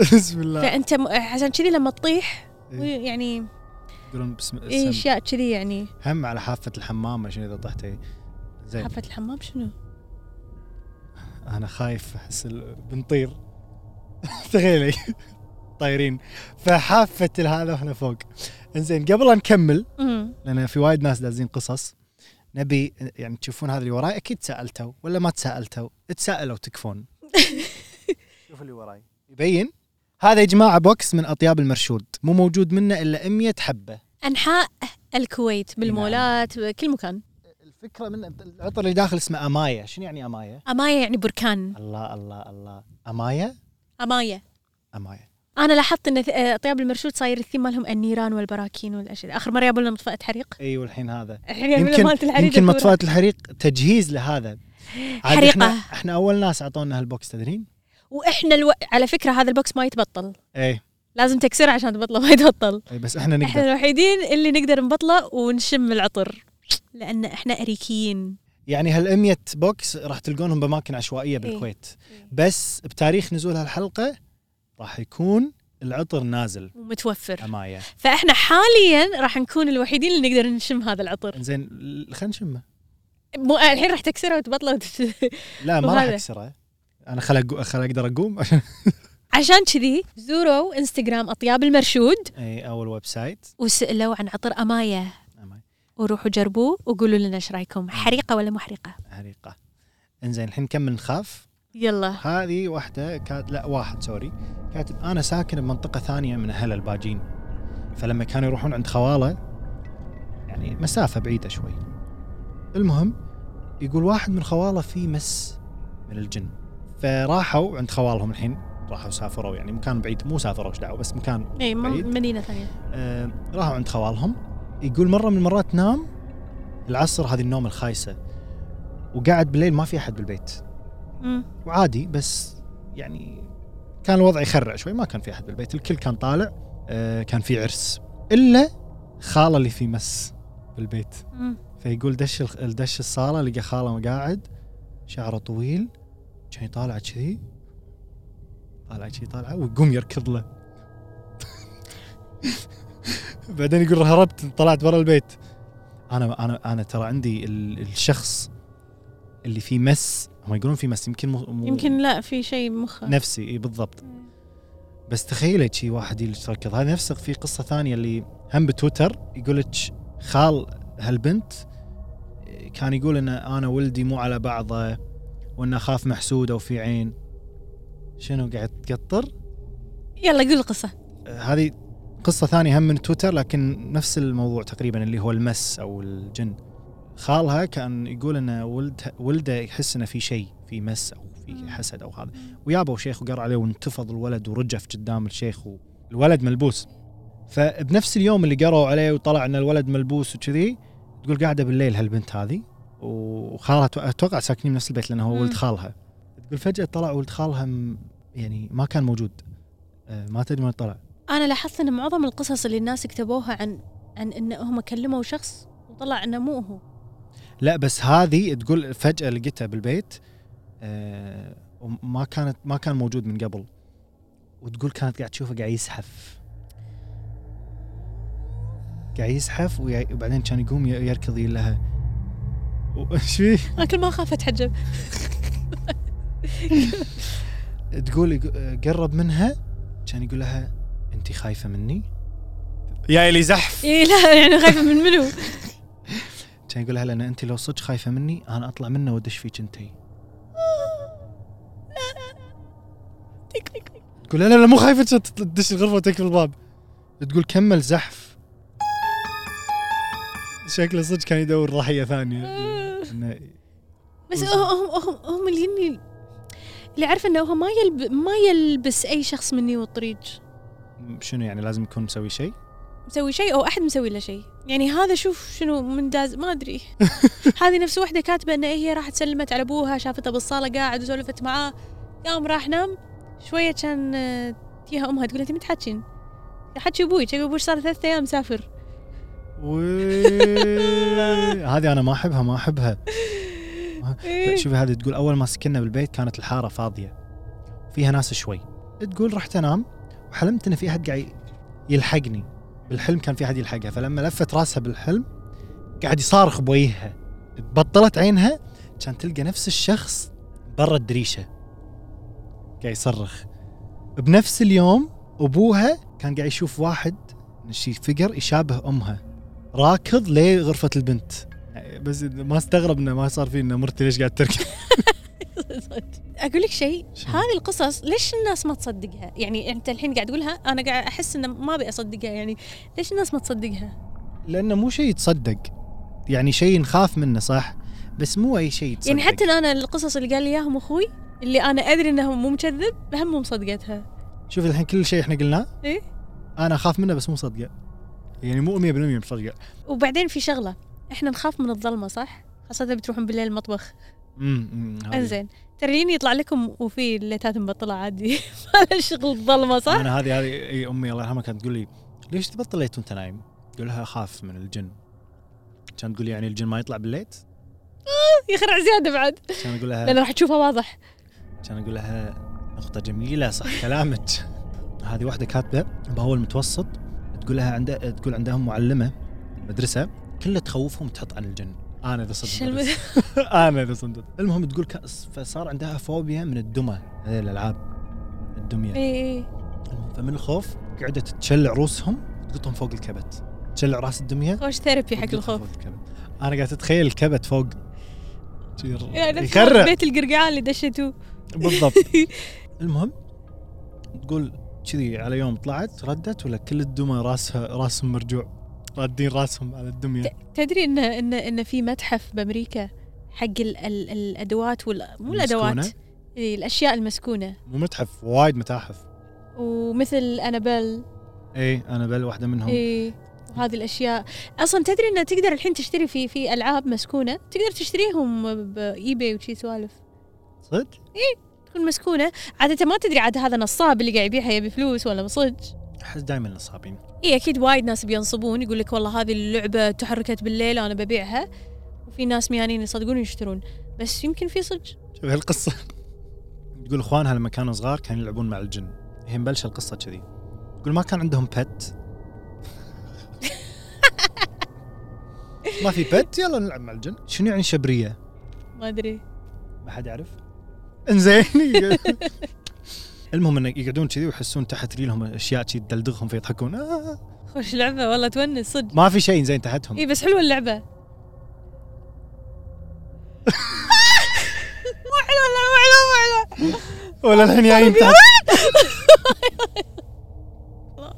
Speaker 2: بسم الله
Speaker 1: فانت م- عشان كذي لما تطيح
Speaker 2: آه. إيه.
Speaker 1: وي- يعني
Speaker 2: يقولون بسم
Speaker 1: اي
Speaker 2: السم
Speaker 1: اشياء كذي يعني
Speaker 2: هم على حافه الحمام عشان اذا طحتي زين
Speaker 1: حافة الحمام شنو؟
Speaker 2: انا خايف احس ال- بنطير تخيلي طايرين فحافه هذا واحنا فوق انزين قبل لا نكمل
Speaker 1: امم
Speaker 2: لان في وايد ناس دازين قصص نبي يعني تشوفون هذا اللي وراي اكيد تسالتوا ولا ما تسالتوا تسالوا تكفون شوف اللي وراي يبين هذا يا جماعه بوكس من اطياب المرشود مو موجود منه الا 100 حبه
Speaker 1: انحاء الكويت بالمولات
Speaker 2: نعم.
Speaker 1: بكل مكان
Speaker 2: الفكره من العطر اللي داخل اسمه امايا شنو يعني امايا
Speaker 1: امايا يعني بركان
Speaker 2: الله الله الله امايا
Speaker 1: امايا
Speaker 2: امايا
Speaker 1: انا لاحظت ان ث- آه، طياب المرشود صاير الثيم مالهم النيران والبراكين والاشياء اخر مره يبون لنا مطفاه حريق
Speaker 2: اي والحين أيوة، هذا
Speaker 1: الحين يبون لنا يعني مالت
Speaker 2: يمكن
Speaker 1: الحريق
Speaker 2: يمكن
Speaker 1: الكبيرة.
Speaker 2: مطفاه الحريق تجهيز لهذا عاد
Speaker 1: حريقة.
Speaker 2: احنا احنا اول ناس اعطونا هالبوكس تدرين؟
Speaker 1: واحنا الو... على فكره هذا البوكس ما يتبطل
Speaker 2: ايه
Speaker 1: لازم تكسره عشان تبطله ما يتبطل
Speaker 2: إيه، بس احنا
Speaker 1: احنا
Speaker 2: نقدر
Speaker 1: الوحيدين اللي نقدر نبطله ونشم العطر لان احنا اريكيين
Speaker 2: يعني هال 100 بوكس راح تلقونهم باماكن عشوائيه
Speaker 1: إيه.
Speaker 2: بالكويت بس بتاريخ نزول هالحلقه راح يكون العطر نازل
Speaker 1: ومتوفر
Speaker 2: امايا
Speaker 1: فاحنا حاليا راح نكون الوحيدين اللي نقدر نشم هذا العطر
Speaker 2: زين ال- خلينا نشمه
Speaker 1: مو الحين راح تكسره وتبطله وت...
Speaker 2: لا ما راح
Speaker 1: وهذا.
Speaker 2: اكسره انا خل أقو- خل اقدر اقوم عشان
Speaker 1: عشان كذي زوروا انستغرام اطياب المرشود
Speaker 2: اي اول إيه، ويب سايت
Speaker 1: وسالوا عن عطر امايا
Speaker 2: أمايا.
Speaker 1: وروحوا جربوه وقولوا لنا ايش رايكم حريقه ولا مو حريقه
Speaker 2: عريقه انزين الحين نكمل نخاف
Speaker 1: يلا
Speaker 2: هذه واحدة كانت لا واحد سوري كاتب أنا ساكن بمنطقة ثانية من أهل الباجين فلما كانوا يروحون عند خواله يعني مسافة بعيدة شوي المهم يقول واحد من خواله فيه مس من الجن فراحوا عند خوالهم الحين راحوا سافروا يعني مكان بعيد مو سافروا ايش دعوه بس مكان
Speaker 1: اي
Speaker 2: بعيد.
Speaker 1: م- مدينه ثانيه
Speaker 2: آه، راحوا عند خوالهم يقول مره من المرات نام العصر هذه النوم الخايسه وقعد بالليل ما في احد بالبيت
Speaker 1: مم.
Speaker 2: وعادي بس يعني كان الوضع يخرع شوي ما كان في احد بالبيت الكل كان طالع آه، كان في عرس الا خاله اللي في مس بالبيت
Speaker 1: مم.
Speaker 2: فيقول دش الخ- دش الصاله لقى خاله قاعد شعره طويل كان يطالع كذي طالع كذي طالع ويقوم يركض له بعدين يقول هربت طلعت برا البيت انا انا انا ترى عندي ال- الشخص اللي فيه مس هم يقولون فيه مس يمكن مو مو-
Speaker 1: يمكن لا في شيء مخه
Speaker 2: نفسي اي بالضبط بس تخيلي شي واحد يركض هذا نفسه في قصه ثانيه اللي هم بتويتر يقول لك خال هالبنت كان يقول ان انا ولدي مو على بعضه وانه خاف محسوده وفي عين شنو قاعد تقطر
Speaker 1: يلا قول القصه
Speaker 2: هذه قصة ثانية هم من تويتر لكن نفس الموضوع تقريبا اللي هو المس أو الجن خالها كان يقول أن ولدها ولده يحس أنه في شيء في مس أو في حسد أو هذا ويابوا شيخ وقر عليه وانتفض الولد ورجف قدام الشيخ والولد ملبوس فبنفس اليوم اللي قروا عليه وطلع أن الولد ملبوس وكذي تقول قاعدة بالليل هالبنت هذه وخالها أتوقع- أتوقع ساكنين بنفس البيت لأنه هو
Speaker 1: مم.
Speaker 2: ولد خالها تقول فجأة طلع ولد خالها م- يعني ما كان موجود آه، ما تدري من طلع
Speaker 1: انا لاحظت ان معظم القصص اللي الناس كتبوها عن عن ان هم كلموا شخص وطلع انه مو هو
Speaker 2: لا بس هذه تقول فجأة لقيتها بالبيت آه، وما كانت ما كان موجود من قبل وتقول كانت قاعد تشوفه قاعد يزحف قاعد يزحف ويع- وبعدين كان يقوم ي- يركض يقول لها وش فيه؟
Speaker 1: أنا كل ما اخاف اتحجب
Speaker 2: تقول يق- قرب منها كان يقول لها انت خايفه مني؟ يا اللي زحف
Speaker 1: اي لا يعني خايفه من منو
Speaker 2: كان يقول لها لان انت لو صدق خايفه مني انا اطلع منه وادش فيك انتي
Speaker 1: تك تك تك.
Speaker 2: تقول لا لا لا مو خايفة عشان تطل- تدش الغرفة وتقفل الباب تقول كمل زحف شكله صدق كان يدور ضحية ثانية إنه
Speaker 1: بس هم هم هم, هم اللي إني- اللي عارفه انه هو ما يلب ما يلبس اي شخص مني والطريق
Speaker 2: شنو يعني لازم يكون مسوي شيء
Speaker 1: مسوي شيء او احد مسوي له شيء يعني هذا شوف شنو منداز ما ادري هذه نفس وحده كاتبه ان إيه هي راحت سلمت على ابوها شافته بالصاله قاعد وسولفت معاه قام راح نام شويه كان آه، تجيها امها تقول انت متحكين حكي ابوي كان ابوي صار ثلاثة ايام مسافر
Speaker 2: وي- هذه أنا ما أحبها ما أحبها
Speaker 1: إيه.
Speaker 2: شوفي هذه تقول أول ما سكننا بالبيت كانت الحارة فاضية فيها ناس شوي تقول رحت أنام وحلمت إن في أحد قاعد يلحقني بالحلم كان في احد يلحقها فلما لفت راسها بالحلم قاعد يصارخ بوجهها بطلت عينها كان تلقى نفس الشخص برا الدريشه قاعد يصرخ بنفس اليوم ابوها كان قاعد يشوف واحد شي فقر يشابه امها راكض لغرفه البنت بس ما استغرب انه ما صار فيه انه مرتي ليش قاعد تركض
Speaker 1: اقول لك شيء
Speaker 2: شنو؟
Speaker 1: هذه القصص ليش الناس ما تصدقها يعني انت الحين قاعد تقولها انا قاعد احس انه ما ابي اصدقها يعني ليش الناس ما تصدقها
Speaker 2: لانه مو شيء يتصدق يعني شيء نخاف منه صح بس مو اي شيء يتصدق
Speaker 1: يعني حتى انا القصص اللي قال لي اياهم اخوي اللي انا ادري انهم مو مكذب هم مو مصدقتها
Speaker 2: شوف الحين كل شيء احنا قلناه
Speaker 1: إيه؟
Speaker 2: انا اخاف منه بس مو صدقه يعني مو 100% مصدقه
Speaker 1: وبعدين في شغله احنا نخاف من الظلمه صح خاصة إذا بتروحون بالليل المطبخ
Speaker 2: امم أمم، هذه.
Speaker 1: انزين ترى لين يطلع لكم وفي الليتات مبطلة عادي ما لها شغل الظلمة صح؟
Speaker 2: انا هذه هذه إي امي الله يرحمها كانت تقول لي ليش تبطل ليت وانت نايم؟ اقول لها اخاف من الجن كانت تقول لي يعني الجن ما يطلع بالليت؟
Speaker 1: يخرع زيادة بعد
Speaker 2: كان اقول لها
Speaker 1: لأن راح تشوفها واضح
Speaker 2: كان اقول لها نقطة جميلة صح كلامك هذه واحدة كاتبة بأول متوسط تقول لها عند... تقول عندهم معلمة مدرسة كلها تخوفهم تحط عن الجن انا اذا
Speaker 1: إيش
Speaker 2: صدق
Speaker 1: الم-
Speaker 2: مدرسة. انا اذا صدق المهم تقول ك... فصار عندها فوبيا من الدمى هذه الالعاب الدمية
Speaker 1: إي إي
Speaker 2: المهم، فمن الخوف قعدت تشلع روسهم تقطهم فوق الكبت تشلع راس الدمية
Speaker 1: خوش ثيرابي حق
Speaker 2: وتقطها
Speaker 1: الخوف
Speaker 2: فوق الكبت. انا قاعد اتخيل الكبت فوق يصير-
Speaker 1: يعني نفس
Speaker 2: يخرع
Speaker 1: بيت القرقعان اللي دشتوه
Speaker 2: بالضبط المهم تقول كذي على يوم طلعت ردت ولا كل الدمى راسها راسهم مرجوع رادين راسهم على الدميه
Speaker 1: تدري ان ان ان في متحف بامريكا حق ال ال الادوات وال مو الادوات
Speaker 2: المسكونة.
Speaker 1: إي، الاشياء المسكونه
Speaker 2: مو متحف وايد متاحف
Speaker 1: ومثل انابيل
Speaker 2: اي انا بل واحده منهم
Speaker 1: اي وهذه الاشياء اصلا تدري ان تقدر الحين تشتري في في العاب مسكونه تقدر تشتريهم باي باي وشي سوالف
Speaker 2: صدق
Speaker 1: تكون مسكونه عاده ما تدري عاد هذا نصاب اللي قاعد يبيعها يبي فلوس ولا صدق
Speaker 2: احس دائما نصابين
Speaker 1: اي اكيد وايد ناس بينصبون يقول لك والله هذه اللعبه تحركت بالليل انا ببيعها وفي ناس ميانين يصدقون يشترون بس يمكن في صدق
Speaker 2: شوف هالقصه تقول اخوانها لما كانوا صغار كانوا يلعبون مع الجن هي مبلشه القصه كذي تقول ما كان عندهم بت ما في بت يلا نلعب مع الجن شنو يعني شبريه
Speaker 1: ما ادري
Speaker 2: ما حد يعرف انزين المهم انه يقعدون كذي ويحسون تحت ريلهم اشياء كذي تدلدغهم فيضحكون آه.
Speaker 1: خوش لعبة والله تونس صدق
Speaker 2: ما في شيء زين تحتهم
Speaker 1: اي بس حلوة اللعبة مو حلوة اللعبة مو حلوة مو حلوة
Speaker 2: ولا الحين جايين تحت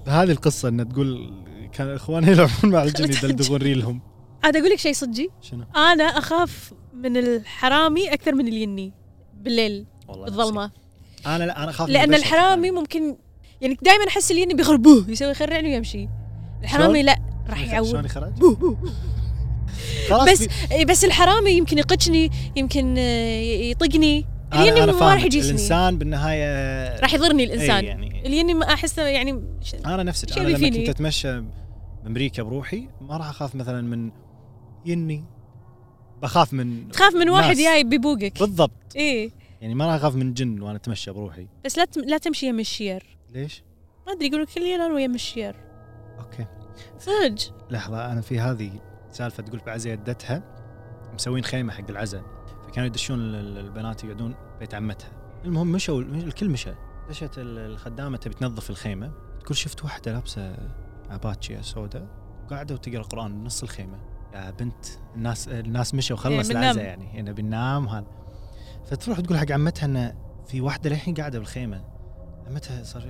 Speaker 2: هذه القصه انه تقول كان اخواني يلعبون مع الجن يدلدغون ريلهم
Speaker 1: عاد اقول لك شيء صدقي
Speaker 2: شنو؟
Speaker 1: انا اخاف من الحرامي اكثر من اليني بالليل
Speaker 2: والله
Speaker 1: بالظلمه
Speaker 2: نفسي. آه. انا لا انا اخاف من
Speaker 1: لان
Speaker 2: البشر.
Speaker 1: الحرامي ممكن يعني دائما احس اليني بيخربوه يسوي يخرعني ويمشي الحرامي
Speaker 2: شلون؟
Speaker 1: لا راح
Speaker 2: شلون
Speaker 1: يعور
Speaker 2: يخرج؟
Speaker 1: بوه بوه.
Speaker 2: خلاص
Speaker 1: بس
Speaker 2: في-
Speaker 1: إي إيه، بس الحرامي يمكن يقتشني يمكن آه، يطقني اليني ما راح
Speaker 2: فاهمك.
Speaker 1: يجيسني
Speaker 2: الانسان بالنهايه
Speaker 1: راح يضرني
Speaker 2: إي
Speaker 1: الانسان
Speaker 2: يعني
Speaker 1: اليني ما احسه يعني ش-
Speaker 2: انا نفسك
Speaker 1: شو
Speaker 2: انا
Speaker 1: اللي
Speaker 2: لما
Speaker 1: فيني؟
Speaker 2: كنت اتمشى بامريكا بروحي ما راح اخاف مثلا من يني بخاف من
Speaker 1: تخاف من واحد
Speaker 2: ناس.
Speaker 1: جاي ببوقك
Speaker 2: بالضبط
Speaker 1: ايه
Speaker 2: يعني ما راح اخاف من جن وانا اتمشى بروحي
Speaker 1: بس لا تم- لا تمشي يم الشير
Speaker 2: ليش؟
Speaker 1: ما ادري يقولوا كل يوم ويم الشير
Speaker 2: اوكي
Speaker 1: صدق
Speaker 2: لحظه انا في هذه سالفه تقول بعزة يدتها مسوين خيمه حق العزة فكانوا يدشون ال- ال- البنات يقعدون بيت عمتها المهم مشوا الكل مشى دشت ال- الخدامه تبي تنظف الخيمه تقول شفت واحده لابسه اباتشي سوداء قاعده وتقرا قران بنص الخيمه يا بنت الناس الناس مشوا
Speaker 1: يعني
Speaker 2: خلص
Speaker 1: بننام.
Speaker 2: العزة يعني انا بننام هذا فتروح تقول حق عمتها انه في واحده للحين قاعده بالخيمه عمتها صار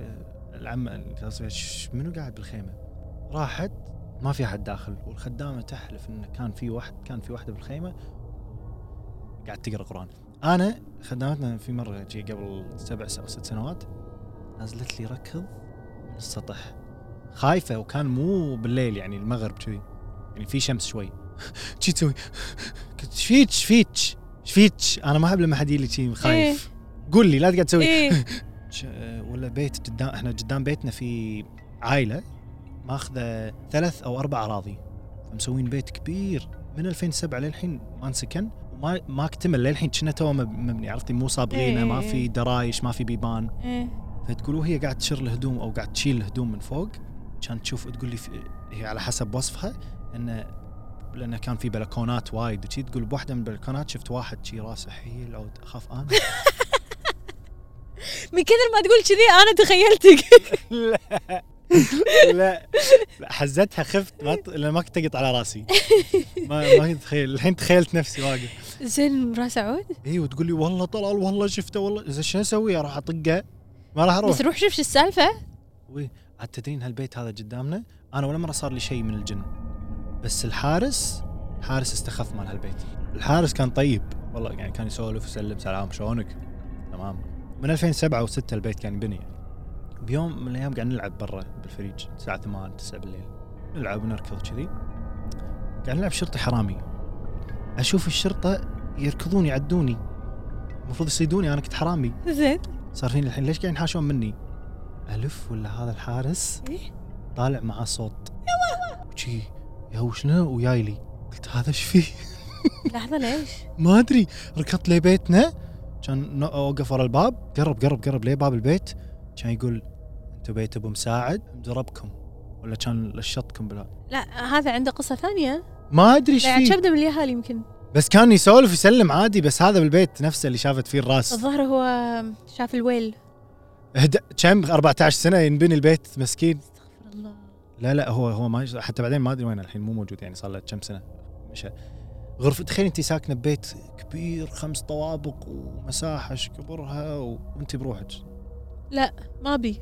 Speaker 2: العم خلاص ش- منو قاعد بالخيمه راحت ما في احد داخل والخدامه تحلف انه كان في واحد كان في واحده بالخيمه قاعد تقرا قران انا خدامتنا في مره جي قبل سبع او ست سنوات نزلت لي ركض من السطح خايفه وكان مو بالليل يعني المغرب كذي يعني في شمس شوي شي تسوي قلت ايش فيك ايش فيك ايش فيك انا ما احب لما حد يجي لي شي خايف قول لي لا تقعد تسوي
Speaker 1: ايه
Speaker 2: ش- ولا بيت قدام احنا قدام بيتنا في عائله ماخذه ثلاث او اربع اراضي مسوين بيت كبير من 2007 للحين ما انسكن وما ما اكتمل للحين كنا تو مب- مبني عرفتي مو صابغينه ما
Speaker 1: إيه.
Speaker 2: في درايش ما في بيبان
Speaker 1: إيه.
Speaker 2: فتقول وهي قاعد تشر الهدوم او قاعد تشيل الهدوم من فوق كان تشوف تقول لي في- هي على حسب وصفها انه لانه كان في بلكونات وايد وشي تقول بواحده من البلكونات شفت واحد شي راسه حيل عود اخاف انا
Speaker 1: من كثر ما تقول كذي انا تخيلتك
Speaker 2: لا لا لا، حزتها خفت ما ت... لأن ما كنت اقط على راسي ما ما كنت اتخيل الحين تخيلت نفسي واقف
Speaker 1: زين راس عود
Speaker 2: اي وتقول لي والله طلال والله شفته والله زين شو اسوي اروح اطقه ما راح اروح
Speaker 1: بس روح شوف شو السالفه
Speaker 2: وي عاد تدرين هالبيت هذا قدامنا انا ولا مره صار لي شيء من الجن بس الحارس حارس استخف مال هالبيت الحارس كان طيب والله يعني كان يسولف ويسلم سلام شلونك تمام من 2007 و6 البيت كان يبني بيوم من الايام قاعد نلعب برا بالفريج الساعه 8 9 بالليل نلعب ونركض كذي قاعد نلعب شرطي حرامي اشوف الشرطه يركضون يعدوني المفروض يصيدوني انا كنت حرامي
Speaker 1: زين
Speaker 2: صار فيني الحين ليش قاعدين ينحاشون مني؟ الف ولا هذا الحارس
Speaker 1: إيه.
Speaker 2: طالع معاه صوت وشي يهوشنا وياي لي قلت هذا ايش فيه؟
Speaker 1: لحظه ليش؟
Speaker 2: ما ادري ركضت لبيتنا كان ن- اوقف ورا الباب قرب قرب قرب لباب البيت كان يقول انتم بيت ابو مساعد مدربكم ولا كان لشطكم بلا
Speaker 1: لا هذا عنده قصه ثانيه
Speaker 2: ما ادري ايش
Speaker 1: لا عاد
Speaker 2: فيه
Speaker 1: شبده من اليهال يمكن
Speaker 2: بس كان يسولف يسلم عادي بس هذا بالبيت نفسه اللي شافت فيه الراس
Speaker 1: الظاهر هو شاف الويل
Speaker 2: هد- كم 14 سنه ينبني البيت مسكين
Speaker 1: استغفر الله
Speaker 2: لا لا هو هو ما حتى بعدين ما ادري وين الحين مو موجود يعني صار له كم سنه مشى غرفه تخيل انت ساكنه ببيت كبير خمس طوابق ومساحه ايش كبرها و... وانت بروحك
Speaker 1: ما بي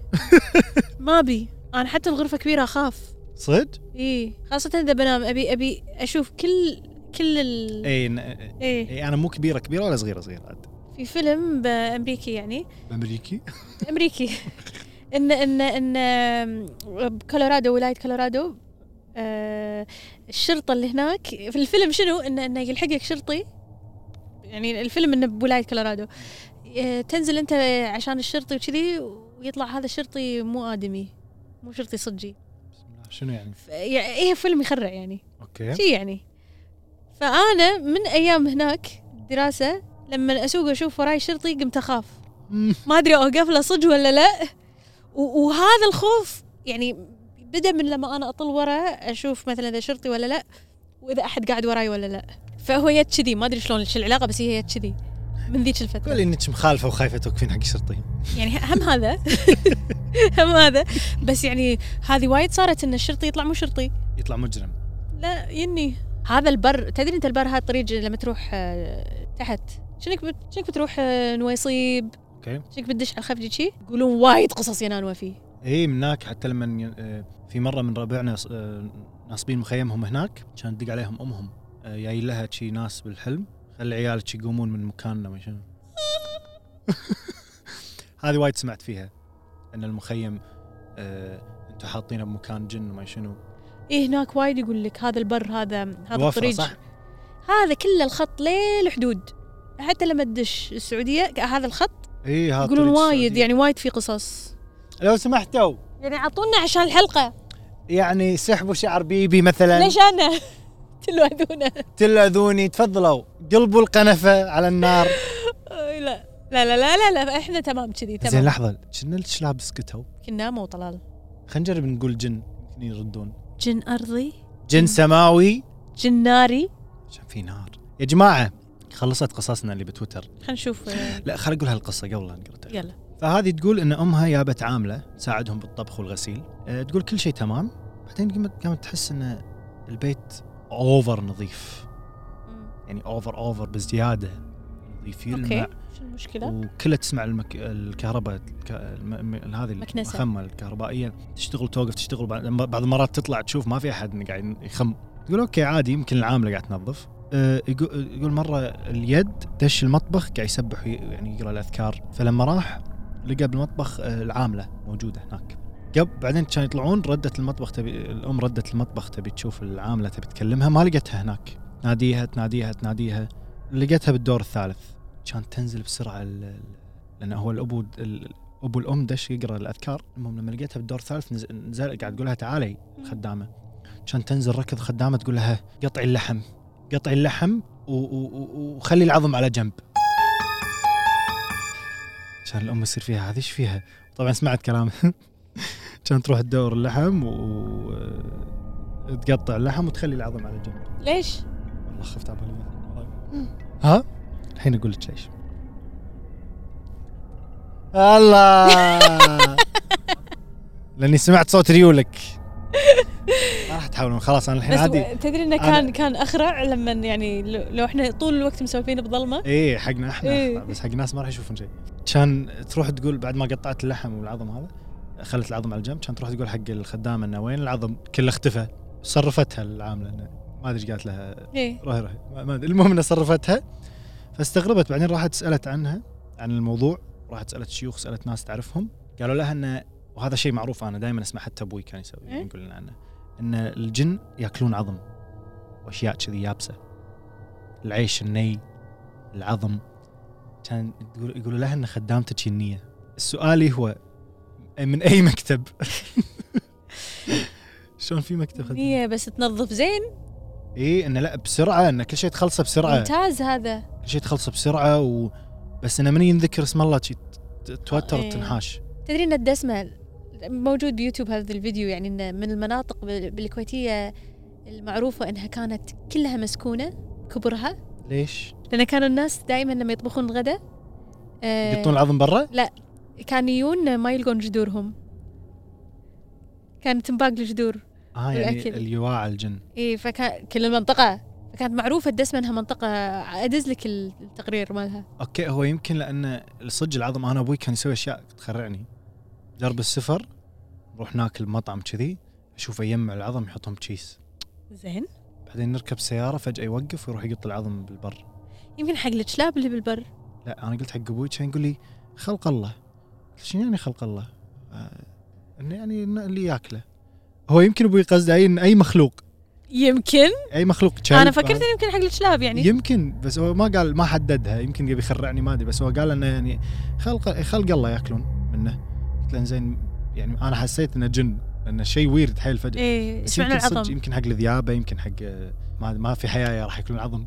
Speaker 1: ما بي انا حتى الغرفه كبيره اخاف
Speaker 2: صدق؟
Speaker 1: اي خاصه اذا إيه. بنام ابي ابي اشوف كل كل ال...
Speaker 2: اي إيه، ن-
Speaker 1: ايه
Speaker 2: اي انا مو كبيره كبيره ولا صغيره صغيره عاد
Speaker 1: في فيلم بامريكي يعني
Speaker 2: امريكي
Speaker 1: امريكي ان ان ان آم، بكولورادو ولايه كولورادو آه، الشرطه اللي هناك في الفيلم شنو انه انه يلحقك شرطي يعني الفيلم انه بولايه كولورادو آه، تنزل انت عشان الشرطي وكذي ويطلع هذا الشرطي مو ادمي مو شرطي صجي
Speaker 2: شنو يعني؟
Speaker 1: ف- يعني ايه فيلم يخرع يعني
Speaker 2: اوكي
Speaker 1: شي يعني فانا من ايام هناك دراسه لما اسوق واشوف وراي شرطي قمت اخاف
Speaker 2: مم.
Speaker 1: ما ادري اوقف له صدق ولا لا و- وهذا الخوف يعني بدا من لما انا اطل ورا اشوف مثلا اذا شرطي ولا لا واذا احد قاعد وراي ولا لا فهو جت كذي ما ادري شلون شو العلاقه بس هي جت كذي من ذيك الفتره
Speaker 2: قولي انك مخالفه وخايفه توقفين طيب. حق الشرطي
Speaker 1: يعني هم هذا هم هذا بس يعني هذه وايد صارت ان الشرطي يطلع مو شرطي
Speaker 2: يطلع مجرم
Speaker 1: لا يني هذا البر تدري انت البر هذا الطريق لما تروح آه، تحت شنك بت... شنك بتروح آه، نويصيب
Speaker 2: اوكي
Speaker 1: شنك بتدش على الخفجي شي يقولون وايد قصص ينانوا فيه
Speaker 2: اي إيه، من هناك حتى لما ي- آه، في مره من ربعنا ص- آه، ناصبين مخيمهم هناك كان تدق عليهم امهم آه، جاي لها شي ناس بالحلم خلي عيالك يقومون من مكاننا ما شنو هذه وايد سمعت فيها ان المخيم آه، انتم حاطينه بمكان جن وما شنو
Speaker 1: ايه هناك وايد يقول لك هذا البر هذا هذا
Speaker 2: الوفرة،
Speaker 1: الطريق
Speaker 2: صح؟
Speaker 1: هذا كل الخط ليه الحدود حتى لما تدش السعوديه هذا الخط
Speaker 2: اي إيه، هذا
Speaker 1: يقولون
Speaker 2: طريق
Speaker 1: وايد
Speaker 2: السعودية.
Speaker 1: يعني وايد في قصص
Speaker 2: لو سمحتوا
Speaker 1: يعني اعطونا عشان الحلقه
Speaker 2: يعني سحبوا شعر بيبي مثلا
Speaker 1: ليش انا تلوذونا
Speaker 2: تلاذوني تفضلوا قلبوا القنفه على النار
Speaker 1: آه، لا لا لا لا لا, لا. احنا تمام كذي
Speaker 2: زين
Speaker 1: تمام
Speaker 2: لحظه شنو لابس كتو
Speaker 1: كنا مو طلال
Speaker 2: خلينا نجرب نقول جن يمكن يردون
Speaker 1: جن ارضي
Speaker 2: جن سماوي
Speaker 1: جن ناري
Speaker 2: عشان في نار يا جماعه خلصت قصصنا اللي بتويتر
Speaker 1: خلينا نشوف آه،
Speaker 2: لا خل اقول هالقصه قبل لا نقرأتها
Speaker 1: يلا
Speaker 2: فهذه تقول ان امها جابت عامله تساعدهم بالطبخ والغسيل أه تقول كل شيء تمام بعدين قامت قامت تحس ان البيت اوفر نظيف يعني اوفر اوفر بزياده نظيف يلمع
Speaker 1: اوكي شو المشكله؟
Speaker 2: وكلها تسمع المك... الكهرباء الك... الم... م- هذه
Speaker 1: مكنسة.
Speaker 2: المخمه الكهربائيه تشتغل توقف تشتغل بعد- لما- بعض المرات تطلع تشوف ما في احد قاعد يخم تقول اوكي عادي يمكن العامله قاعد تنظف أه، يقو- يقول مره اليد دش المطبخ قاعد يسبح وي- يعني يقرا الاذكار فلما راح لقى بالمطبخ أه، العامله موجوده هناك قب بعدين كانوا يطلعون ردت المطبخ تبي الام ردت المطبخ تبي تشوف العامله تبي تكلمها ما لقتها هناك ناديها تناديها تناديها لقيتها بالدور الثالث كانت تنزل بسرعه ال- ال- لان هو الابو ال- ابو الام دش يقرا الاذكار المهم لما لقيتها بالدور الثالث نز- نزل قاعد تقول لها تعالي الخدامه كانت تنزل ركض خدامه تقول لها قطعي اللحم قطعي اللحم و- و- و- وخلي العظم على جنب كان الام يصير فيها هذه ايش فيها؟ طبعا سمعت كلام كان تروح تدور اللحم و تقطع اللحم وتخلي العظم على جنب
Speaker 1: ليش؟
Speaker 2: والله خفت على بالي ها الحين اقول لك ايش الله لاني سمعت صوت ريولك ما راح تحاولون خلاص انا الحين
Speaker 1: بس
Speaker 2: عادي
Speaker 1: و- تدري انه كان كان اخرع لما يعني لو لو احنا طول الوقت مسولفين بظلمه
Speaker 2: ايه حقنا احنا
Speaker 1: إيه.
Speaker 2: بس حق الناس ما راح يشوفون شيء كان تروح تقول بعد ما قطعت اللحم والعظم هذا خلت العظم على جنب كان تروح تقول حق الخدامه انه وين العظم كله اختفى صرفتها العامله انه ما ادري ايش قالت لها
Speaker 1: ايه
Speaker 2: رهي رهي ما- ما أدري. المهم انها صرفتها فاستغربت بعدين راحت سالت عنها عن الموضوع راحت سالت شيوخ سالت ناس تعرفهم قالوا لها انه وهذا شيء معروف انا دائما اسمع حتى ابوي كان يسوي
Speaker 1: إيه؟
Speaker 2: يقول لنا عنه ان الجن ياكلون عظم واشياء كذي يابسه العيش الني العظم كان تقول يقولوا لها ان خدامتك جنيه سؤالي هو من اي مكتب شلون في مكتب خدامه؟
Speaker 1: هي بس تنظف زين
Speaker 2: اي انه لا بسرعه انه كل شيء تخلصه بسرعه
Speaker 1: ممتاز هذا
Speaker 2: كل شيء تخلصه بسرعه و... بس انه من ينذكر اسم الله شي ت- توتر
Speaker 1: آه، إيه.
Speaker 2: تنحاش
Speaker 1: تدري ان الدسمه موجود بيوتيوب هذا الفيديو يعني انه من المناطق بال- بالكويتيه المعروفه انها كانت كلها مسكونه كبرها
Speaker 2: ليش؟
Speaker 1: لان كانوا الناس دائما لما يطبخون الغداء آه،
Speaker 2: يقطون العظم برا؟
Speaker 1: كانوا يجون ما يلقون جذورهم كانت تنباق الجذور
Speaker 2: اه يعني
Speaker 1: والأكل.
Speaker 2: اليواع الجن
Speaker 1: اي فكان كل المنطقه فكانت معروفه الدسمه انها منطقه ادز لك التقرير مالها
Speaker 2: اوكي هو يمكن لان صدق العظم انا ابوي كان يسوي اشياء تخرعني درب السفر نروح ناكل مطعم كذي اشوفه يجمع العظم يحطهم بكيس
Speaker 1: زين
Speaker 2: بعدين نركب سياره فجاه يوقف ويروح يقط العظم بالبر
Speaker 1: يمكن حق الكلاب اللي بالبر
Speaker 2: لا انا قلت حق ابوي كان يقول لي خلق الله قلت شنو يعني خلق الله؟ آه انه يعني إنه اللي ياكله هو يمكن ابوي قصده اي إن اي مخلوق
Speaker 1: يمكن
Speaker 2: اي مخلوق كلب
Speaker 1: انا فكرت إنه يمكن حق الكلاب يعني
Speaker 2: يمكن بس هو ما قال ما حددها يمكن يبي يخرعني ما ادري بس هو قال انه يعني خلق خلق الله ياكلون منه قلت له زين يعني انا حسيت انه جن انه شيء ويرد حيل فجاه
Speaker 1: ايه
Speaker 2: بس
Speaker 1: ايش معنى
Speaker 2: يمكن صدق
Speaker 1: العظم؟
Speaker 2: يمكن حق الذيابه يمكن حق آه، ما ما في حياه راح ياكلون عظم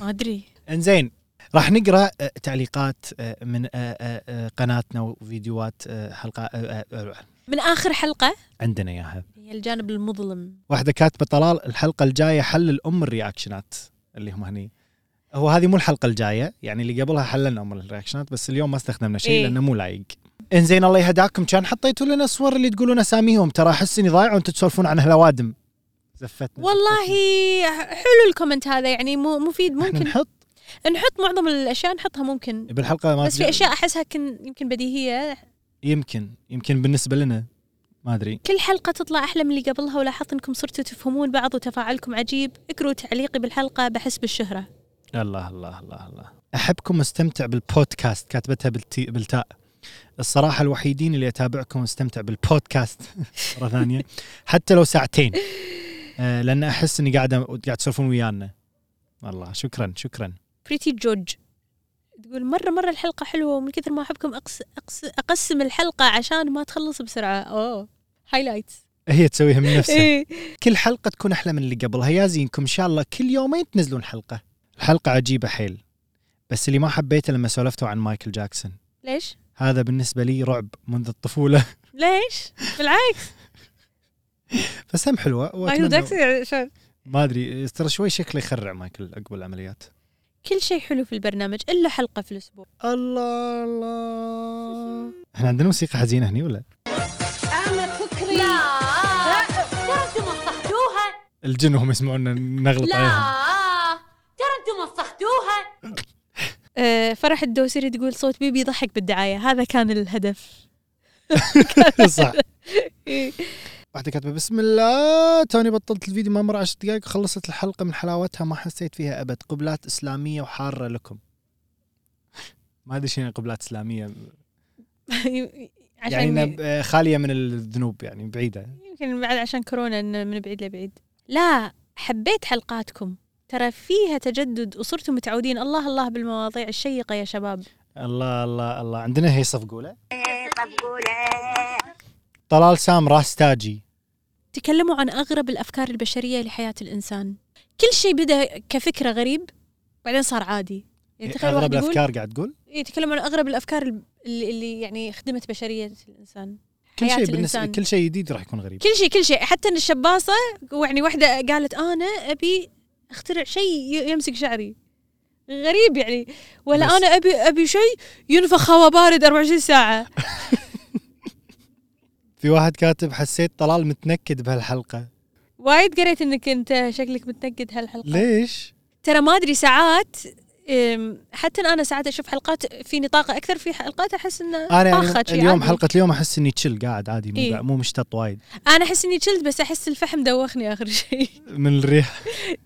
Speaker 1: ما ادري
Speaker 2: انزين راح نقرا آه، تعليقات آه، من آه، آه، آه، قناتنا وفيديوهات آه، حلقه آه، آه، آه،
Speaker 1: من اخر حلقه
Speaker 2: عندنا اياها
Speaker 1: هي الجانب المظلم
Speaker 2: واحده كاتبه طلال الحلقه الجايه حل الام الرياكشنات اللي هم هني هو هذه مو الحلقه الجايه يعني اللي قبلها حللنا ام الرياكشنات بس اليوم ما استخدمنا شيء
Speaker 1: إيه.
Speaker 2: لانه مو لايق انزين الله يهداكم كان حطيتوا لنا صور اللي تقولون اساميهم ترى احس اني ضايع وانتم تسولفون عن هلوادم زفتنا
Speaker 1: والله حلو الكومنت هذا يعني مو مفيد
Speaker 2: ممكن
Speaker 1: ممكن
Speaker 2: نحط
Speaker 1: نحط معظم الاشياء نحطها ممكن
Speaker 2: بالحلقه ما
Speaker 1: بس في اشياء احسها كن يمكن بديهيه
Speaker 2: يمكن يمكن بالنسبه لنا ما ادري
Speaker 1: كل حلقة تطلع أحلى من اللي قبلها ولاحظت إنكم صرتوا تفهمون بعض وتفاعلكم عجيب اقروا تعليقي بالحلقة بحس بالشهرة
Speaker 2: الله الله الله الله احبكم واستمتع بالبودكاست كاتبتها بالتي بالتاء الصراحه الوحيدين اللي اتابعكم واستمتع بالبودكاست مره ثانيه حتى لو ساعتين آه، لان احس اني قاعد قاعد تسولفون ويانا والله شكرا شكرا
Speaker 1: بريتي جورج تقول مرة مرة الحلقة حلوة ومن كثر ما أحبكم أقس أقس أقسم الحلقة عشان ما تخلص بسرعة أوه هايلايتس
Speaker 2: هي تسويها من نفسها
Speaker 1: إيه
Speaker 2: كل حلقه تكون احلى من اللي قبلها يا زينكم ان شاء الله كل يومين تنزلون حلقه الحلقه عجيبه حيل بس اللي ما حبيته لما سولفتوا عن مايكل جاكسون
Speaker 1: ليش؟
Speaker 2: هذا بالنسبه لي رعب منذ الطفوله
Speaker 1: ليش؟ بالعكس
Speaker 2: بس هم حلوه
Speaker 1: مايكل
Speaker 2: وأتمنى-
Speaker 1: جاكسون يعني شلون؟
Speaker 2: ما ادري ترى شوي شكله يخرع مايكل عقب العمليات
Speaker 1: كل شيء حلو في البرنامج إلا حلقة في الأسبوع
Speaker 2: الله الله احنا عندنا موسيقى حزينه هني ولا؟
Speaker 3: أعمى فكري لا ترى انتم مسخدوها
Speaker 2: الجن وهم يسمعونا نغلط عليهم
Speaker 3: لا ترى انتم مسخدوها
Speaker 1: أه فرح الدوسري تقول صوت بيبي يضحك بالدعاية هذا كان الهدف
Speaker 2: صح
Speaker 1: إيه.
Speaker 2: واحده كاتبه بسم الله توني بطلت الفيديو ما مر 10 دقائق خلصت الحلقه من حلاوتها ما حسيت فيها ابد قبلات اسلاميه وحاره لكم ما ادري شنو قبلات اسلاميه يعني
Speaker 1: عشان
Speaker 2: إنها ب- آه، خاليه من الذنوب يعني بعيده
Speaker 1: يمكن بعد عشان كورونا إنه من بعيد لبعيد لا حبيت حلقاتكم ترى فيها تجدد وصرتم متعودين الله الله بالمواضيع الشيقة يا شباب
Speaker 2: الله الله الله عندنا هي صفقوله
Speaker 4: طبقوله
Speaker 2: طلال سام راس تاجي
Speaker 1: تكلموا عن أغرب الأفكار البشرية لحياة الإنسان كل شيء بدأ كفكرة غريب بعدين صار عادي يعني تخيل
Speaker 2: اغرب
Speaker 1: واحد يقول
Speaker 2: الافكار قاعد تقول
Speaker 1: إيه، يتكلموا عن أغرب الأفكار الب- اللي, اللي يعني خدمت بشرية الإنسان
Speaker 2: كل
Speaker 1: حياة
Speaker 2: شيء بالنسبه
Speaker 1: الإنسان.
Speaker 2: كل شيء جديد راح يكون غريب
Speaker 1: كل شيء كل شيء حتى ان الشباصه يعني واحده قالت انا ابي اخترع شيء ي- يمسك شعري غريب يعني ولا
Speaker 2: بس.
Speaker 1: انا ابي ابي شيء ينفخ هواء بارد 24 ساعه
Speaker 2: في واحد كاتب حسيت طلال متنكد بهالحلقه
Speaker 1: وايد قريت انك انت شكلك متنقد هالحلقه
Speaker 2: ليش
Speaker 1: ترى ما ادري ساعات أم، حتى انا ساعات اشوف حلقات في نطاقه اكثر في حلقات احس انه
Speaker 2: انا يعني
Speaker 1: طاخت شي
Speaker 2: اليوم
Speaker 1: عادي.
Speaker 2: حلقه اليوم احس اني تشل قاعد عادي مو,
Speaker 1: آه، إيه.
Speaker 2: قاعد- مو مشتط وايد
Speaker 1: انا احس اني شلت بس احس الفحم دوخني اخر شيء
Speaker 2: من الريح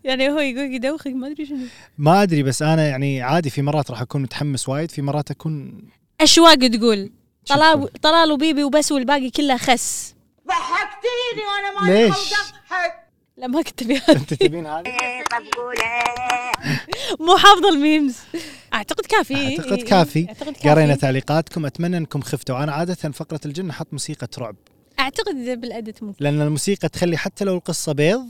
Speaker 1: يعني هو يقول يدوخك ما ادري شنو
Speaker 2: ما ادري بس انا يعني عادي في مرات راح اكون متحمس وايد في مرات اكون
Speaker 1: اشواق تقول
Speaker 2: شو
Speaker 1: طلال
Speaker 2: تقول؟
Speaker 1: طلال وبيبي وبس والباقي كله خس
Speaker 3: ضحكتيني وانا ما
Speaker 2: ليش
Speaker 1: لا ما كنت أبي هذا.
Speaker 2: انت تبين هذا
Speaker 4: طبقوله
Speaker 1: مو حافظه الميمز اعتقد كافي إي،
Speaker 2: اعتقد
Speaker 1: إي،
Speaker 2: كافي
Speaker 1: اعتقد كافي
Speaker 2: قرينا تعليقاتكم اتمنى انكم خفتوا انا عاده فقره الجن احط موسيقى رعب
Speaker 1: اعتقد بالادت ممكن إيه،
Speaker 2: لان الموسيقى تخلي حتى لو القصه بيض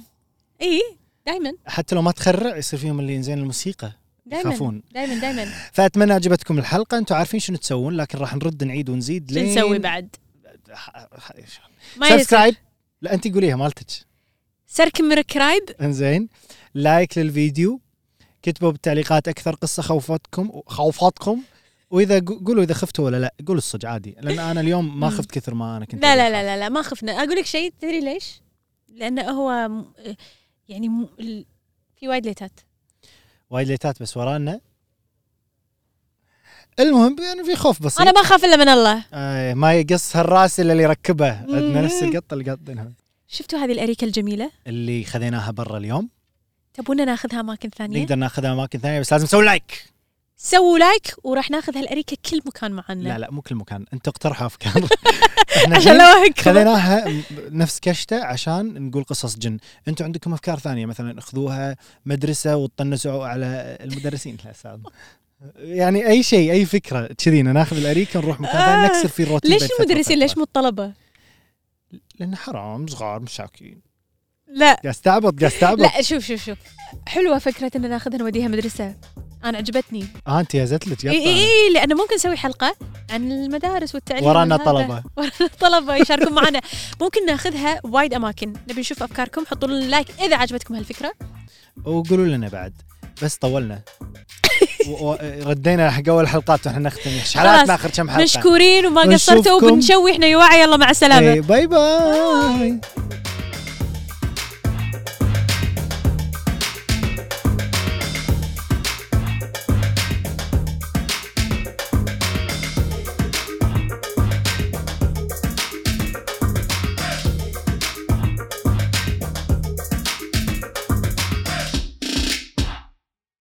Speaker 1: اي دائما
Speaker 2: حتى لو ما تخرع يصير فيهم اللي انزين الموسيقى
Speaker 1: دائما
Speaker 2: يخافون.
Speaker 1: دائما دائما
Speaker 2: فاتمنى عجبتكم الحلقه انتم عارفين شنو تسوون لكن راح نرد نعيد ونزيد
Speaker 1: شو
Speaker 2: لين
Speaker 1: نسوي بعد؟
Speaker 2: ح- ح-
Speaker 1: ما يصير.
Speaker 2: سبسكرايب لا انت قوليها مالتك
Speaker 1: سرك مركرايب
Speaker 2: انزين لايك للفيديو كتبوا بالتعليقات اكثر قصه خوفتكم خوفاتكم واذا قو- قولوا اذا خفتوا ولا لا قولوا الصج عادي لان انا اليوم ما خفت كثر ما انا كنت
Speaker 1: لا لا
Speaker 2: أبي
Speaker 1: لا لا, لا ما خفنا اقول لك شيء تدري ليش؟ لانه هو م- يعني م- ال- في وايد ليتات
Speaker 2: أخاف. وايد ليتات بس ورانا المهم يعني في خوف بسيط
Speaker 1: انا ما اخاف الا من الله
Speaker 2: آه ما يقص هالراس الا اللي يركبه عندنا
Speaker 1: مم.
Speaker 2: نفس القطه اللي قاطينها
Speaker 1: شفتوا هذه الاريكه الجميله؟
Speaker 2: اللي خذيناها برا اليوم
Speaker 1: تبونا ناخذها اماكن ثانيه؟
Speaker 2: نقدر ناخذها اماكن ثانيه بس لازم تسوي لايك
Speaker 1: سووا لايك وراح ناخذ هالاريكه كل مكان معنا
Speaker 2: لا لا مو كل مكان انت اقترحوا افكار إحنا
Speaker 1: عشان
Speaker 2: الحين
Speaker 1: لو هيك
Speaker 2: خذيناها م- نفس كشته عشان نقول قصص جن انتم عندكم افكار ثانيه مثلا خذوها مدرسه وتطنسوا على المدرسين لا سعد. يعني اي شيء اي فكره كذينا ناخذ الاريكه نروح مكان ثاني
Speaker 1: آه،
Speaker 2: نكسر فيه الروتين
Speaker 1: ليش
Speaker 2: بين فترة
Speaker 1: المدرسين ليش
Speaker 2: وفترة.
Speaker 1: مو الطلبه؟
Speaker 2: لان حرام صغار مساكين
Speaker 1: لا
Speaker 2: قاعد استعبط قاعد استعبط
Speaker 1: لا شوف شوف شوف حلوه فكره ان ناخذها نوديها مدرسه انا عجبتني
Speaker 2: اه انت هزت لك
Speaker 1: اي اي اي لانه ممكن نسوي حلقه عن المدارس والتعليم
Speaker 2: ورانا
Speaker 1: وهذا.
Speaker 2: طلبة.
Speaker 1: ورانا طلبه يشاركون معنا ممكن ناخذها وايد اماكن نبي نشوف افكاركم حطوا لنا لايك اذا عجبتكم هالفكره
Speaker 2: وقولوا لنا بعد بس طولنا و- و- ردينا حق اول حلقات واحنا نختم
Speaker 1: خلاص.
Speaker 2: حلقاتنا اخر كم حلقه
Speaker 1: مشكورين وما قصرتوا
Speaker 2: ونشوفكم. إيه،
Speaker 1: وبنشوي احنا يا واعي يلا مع السلامه
Speaker 2: إي، باي باي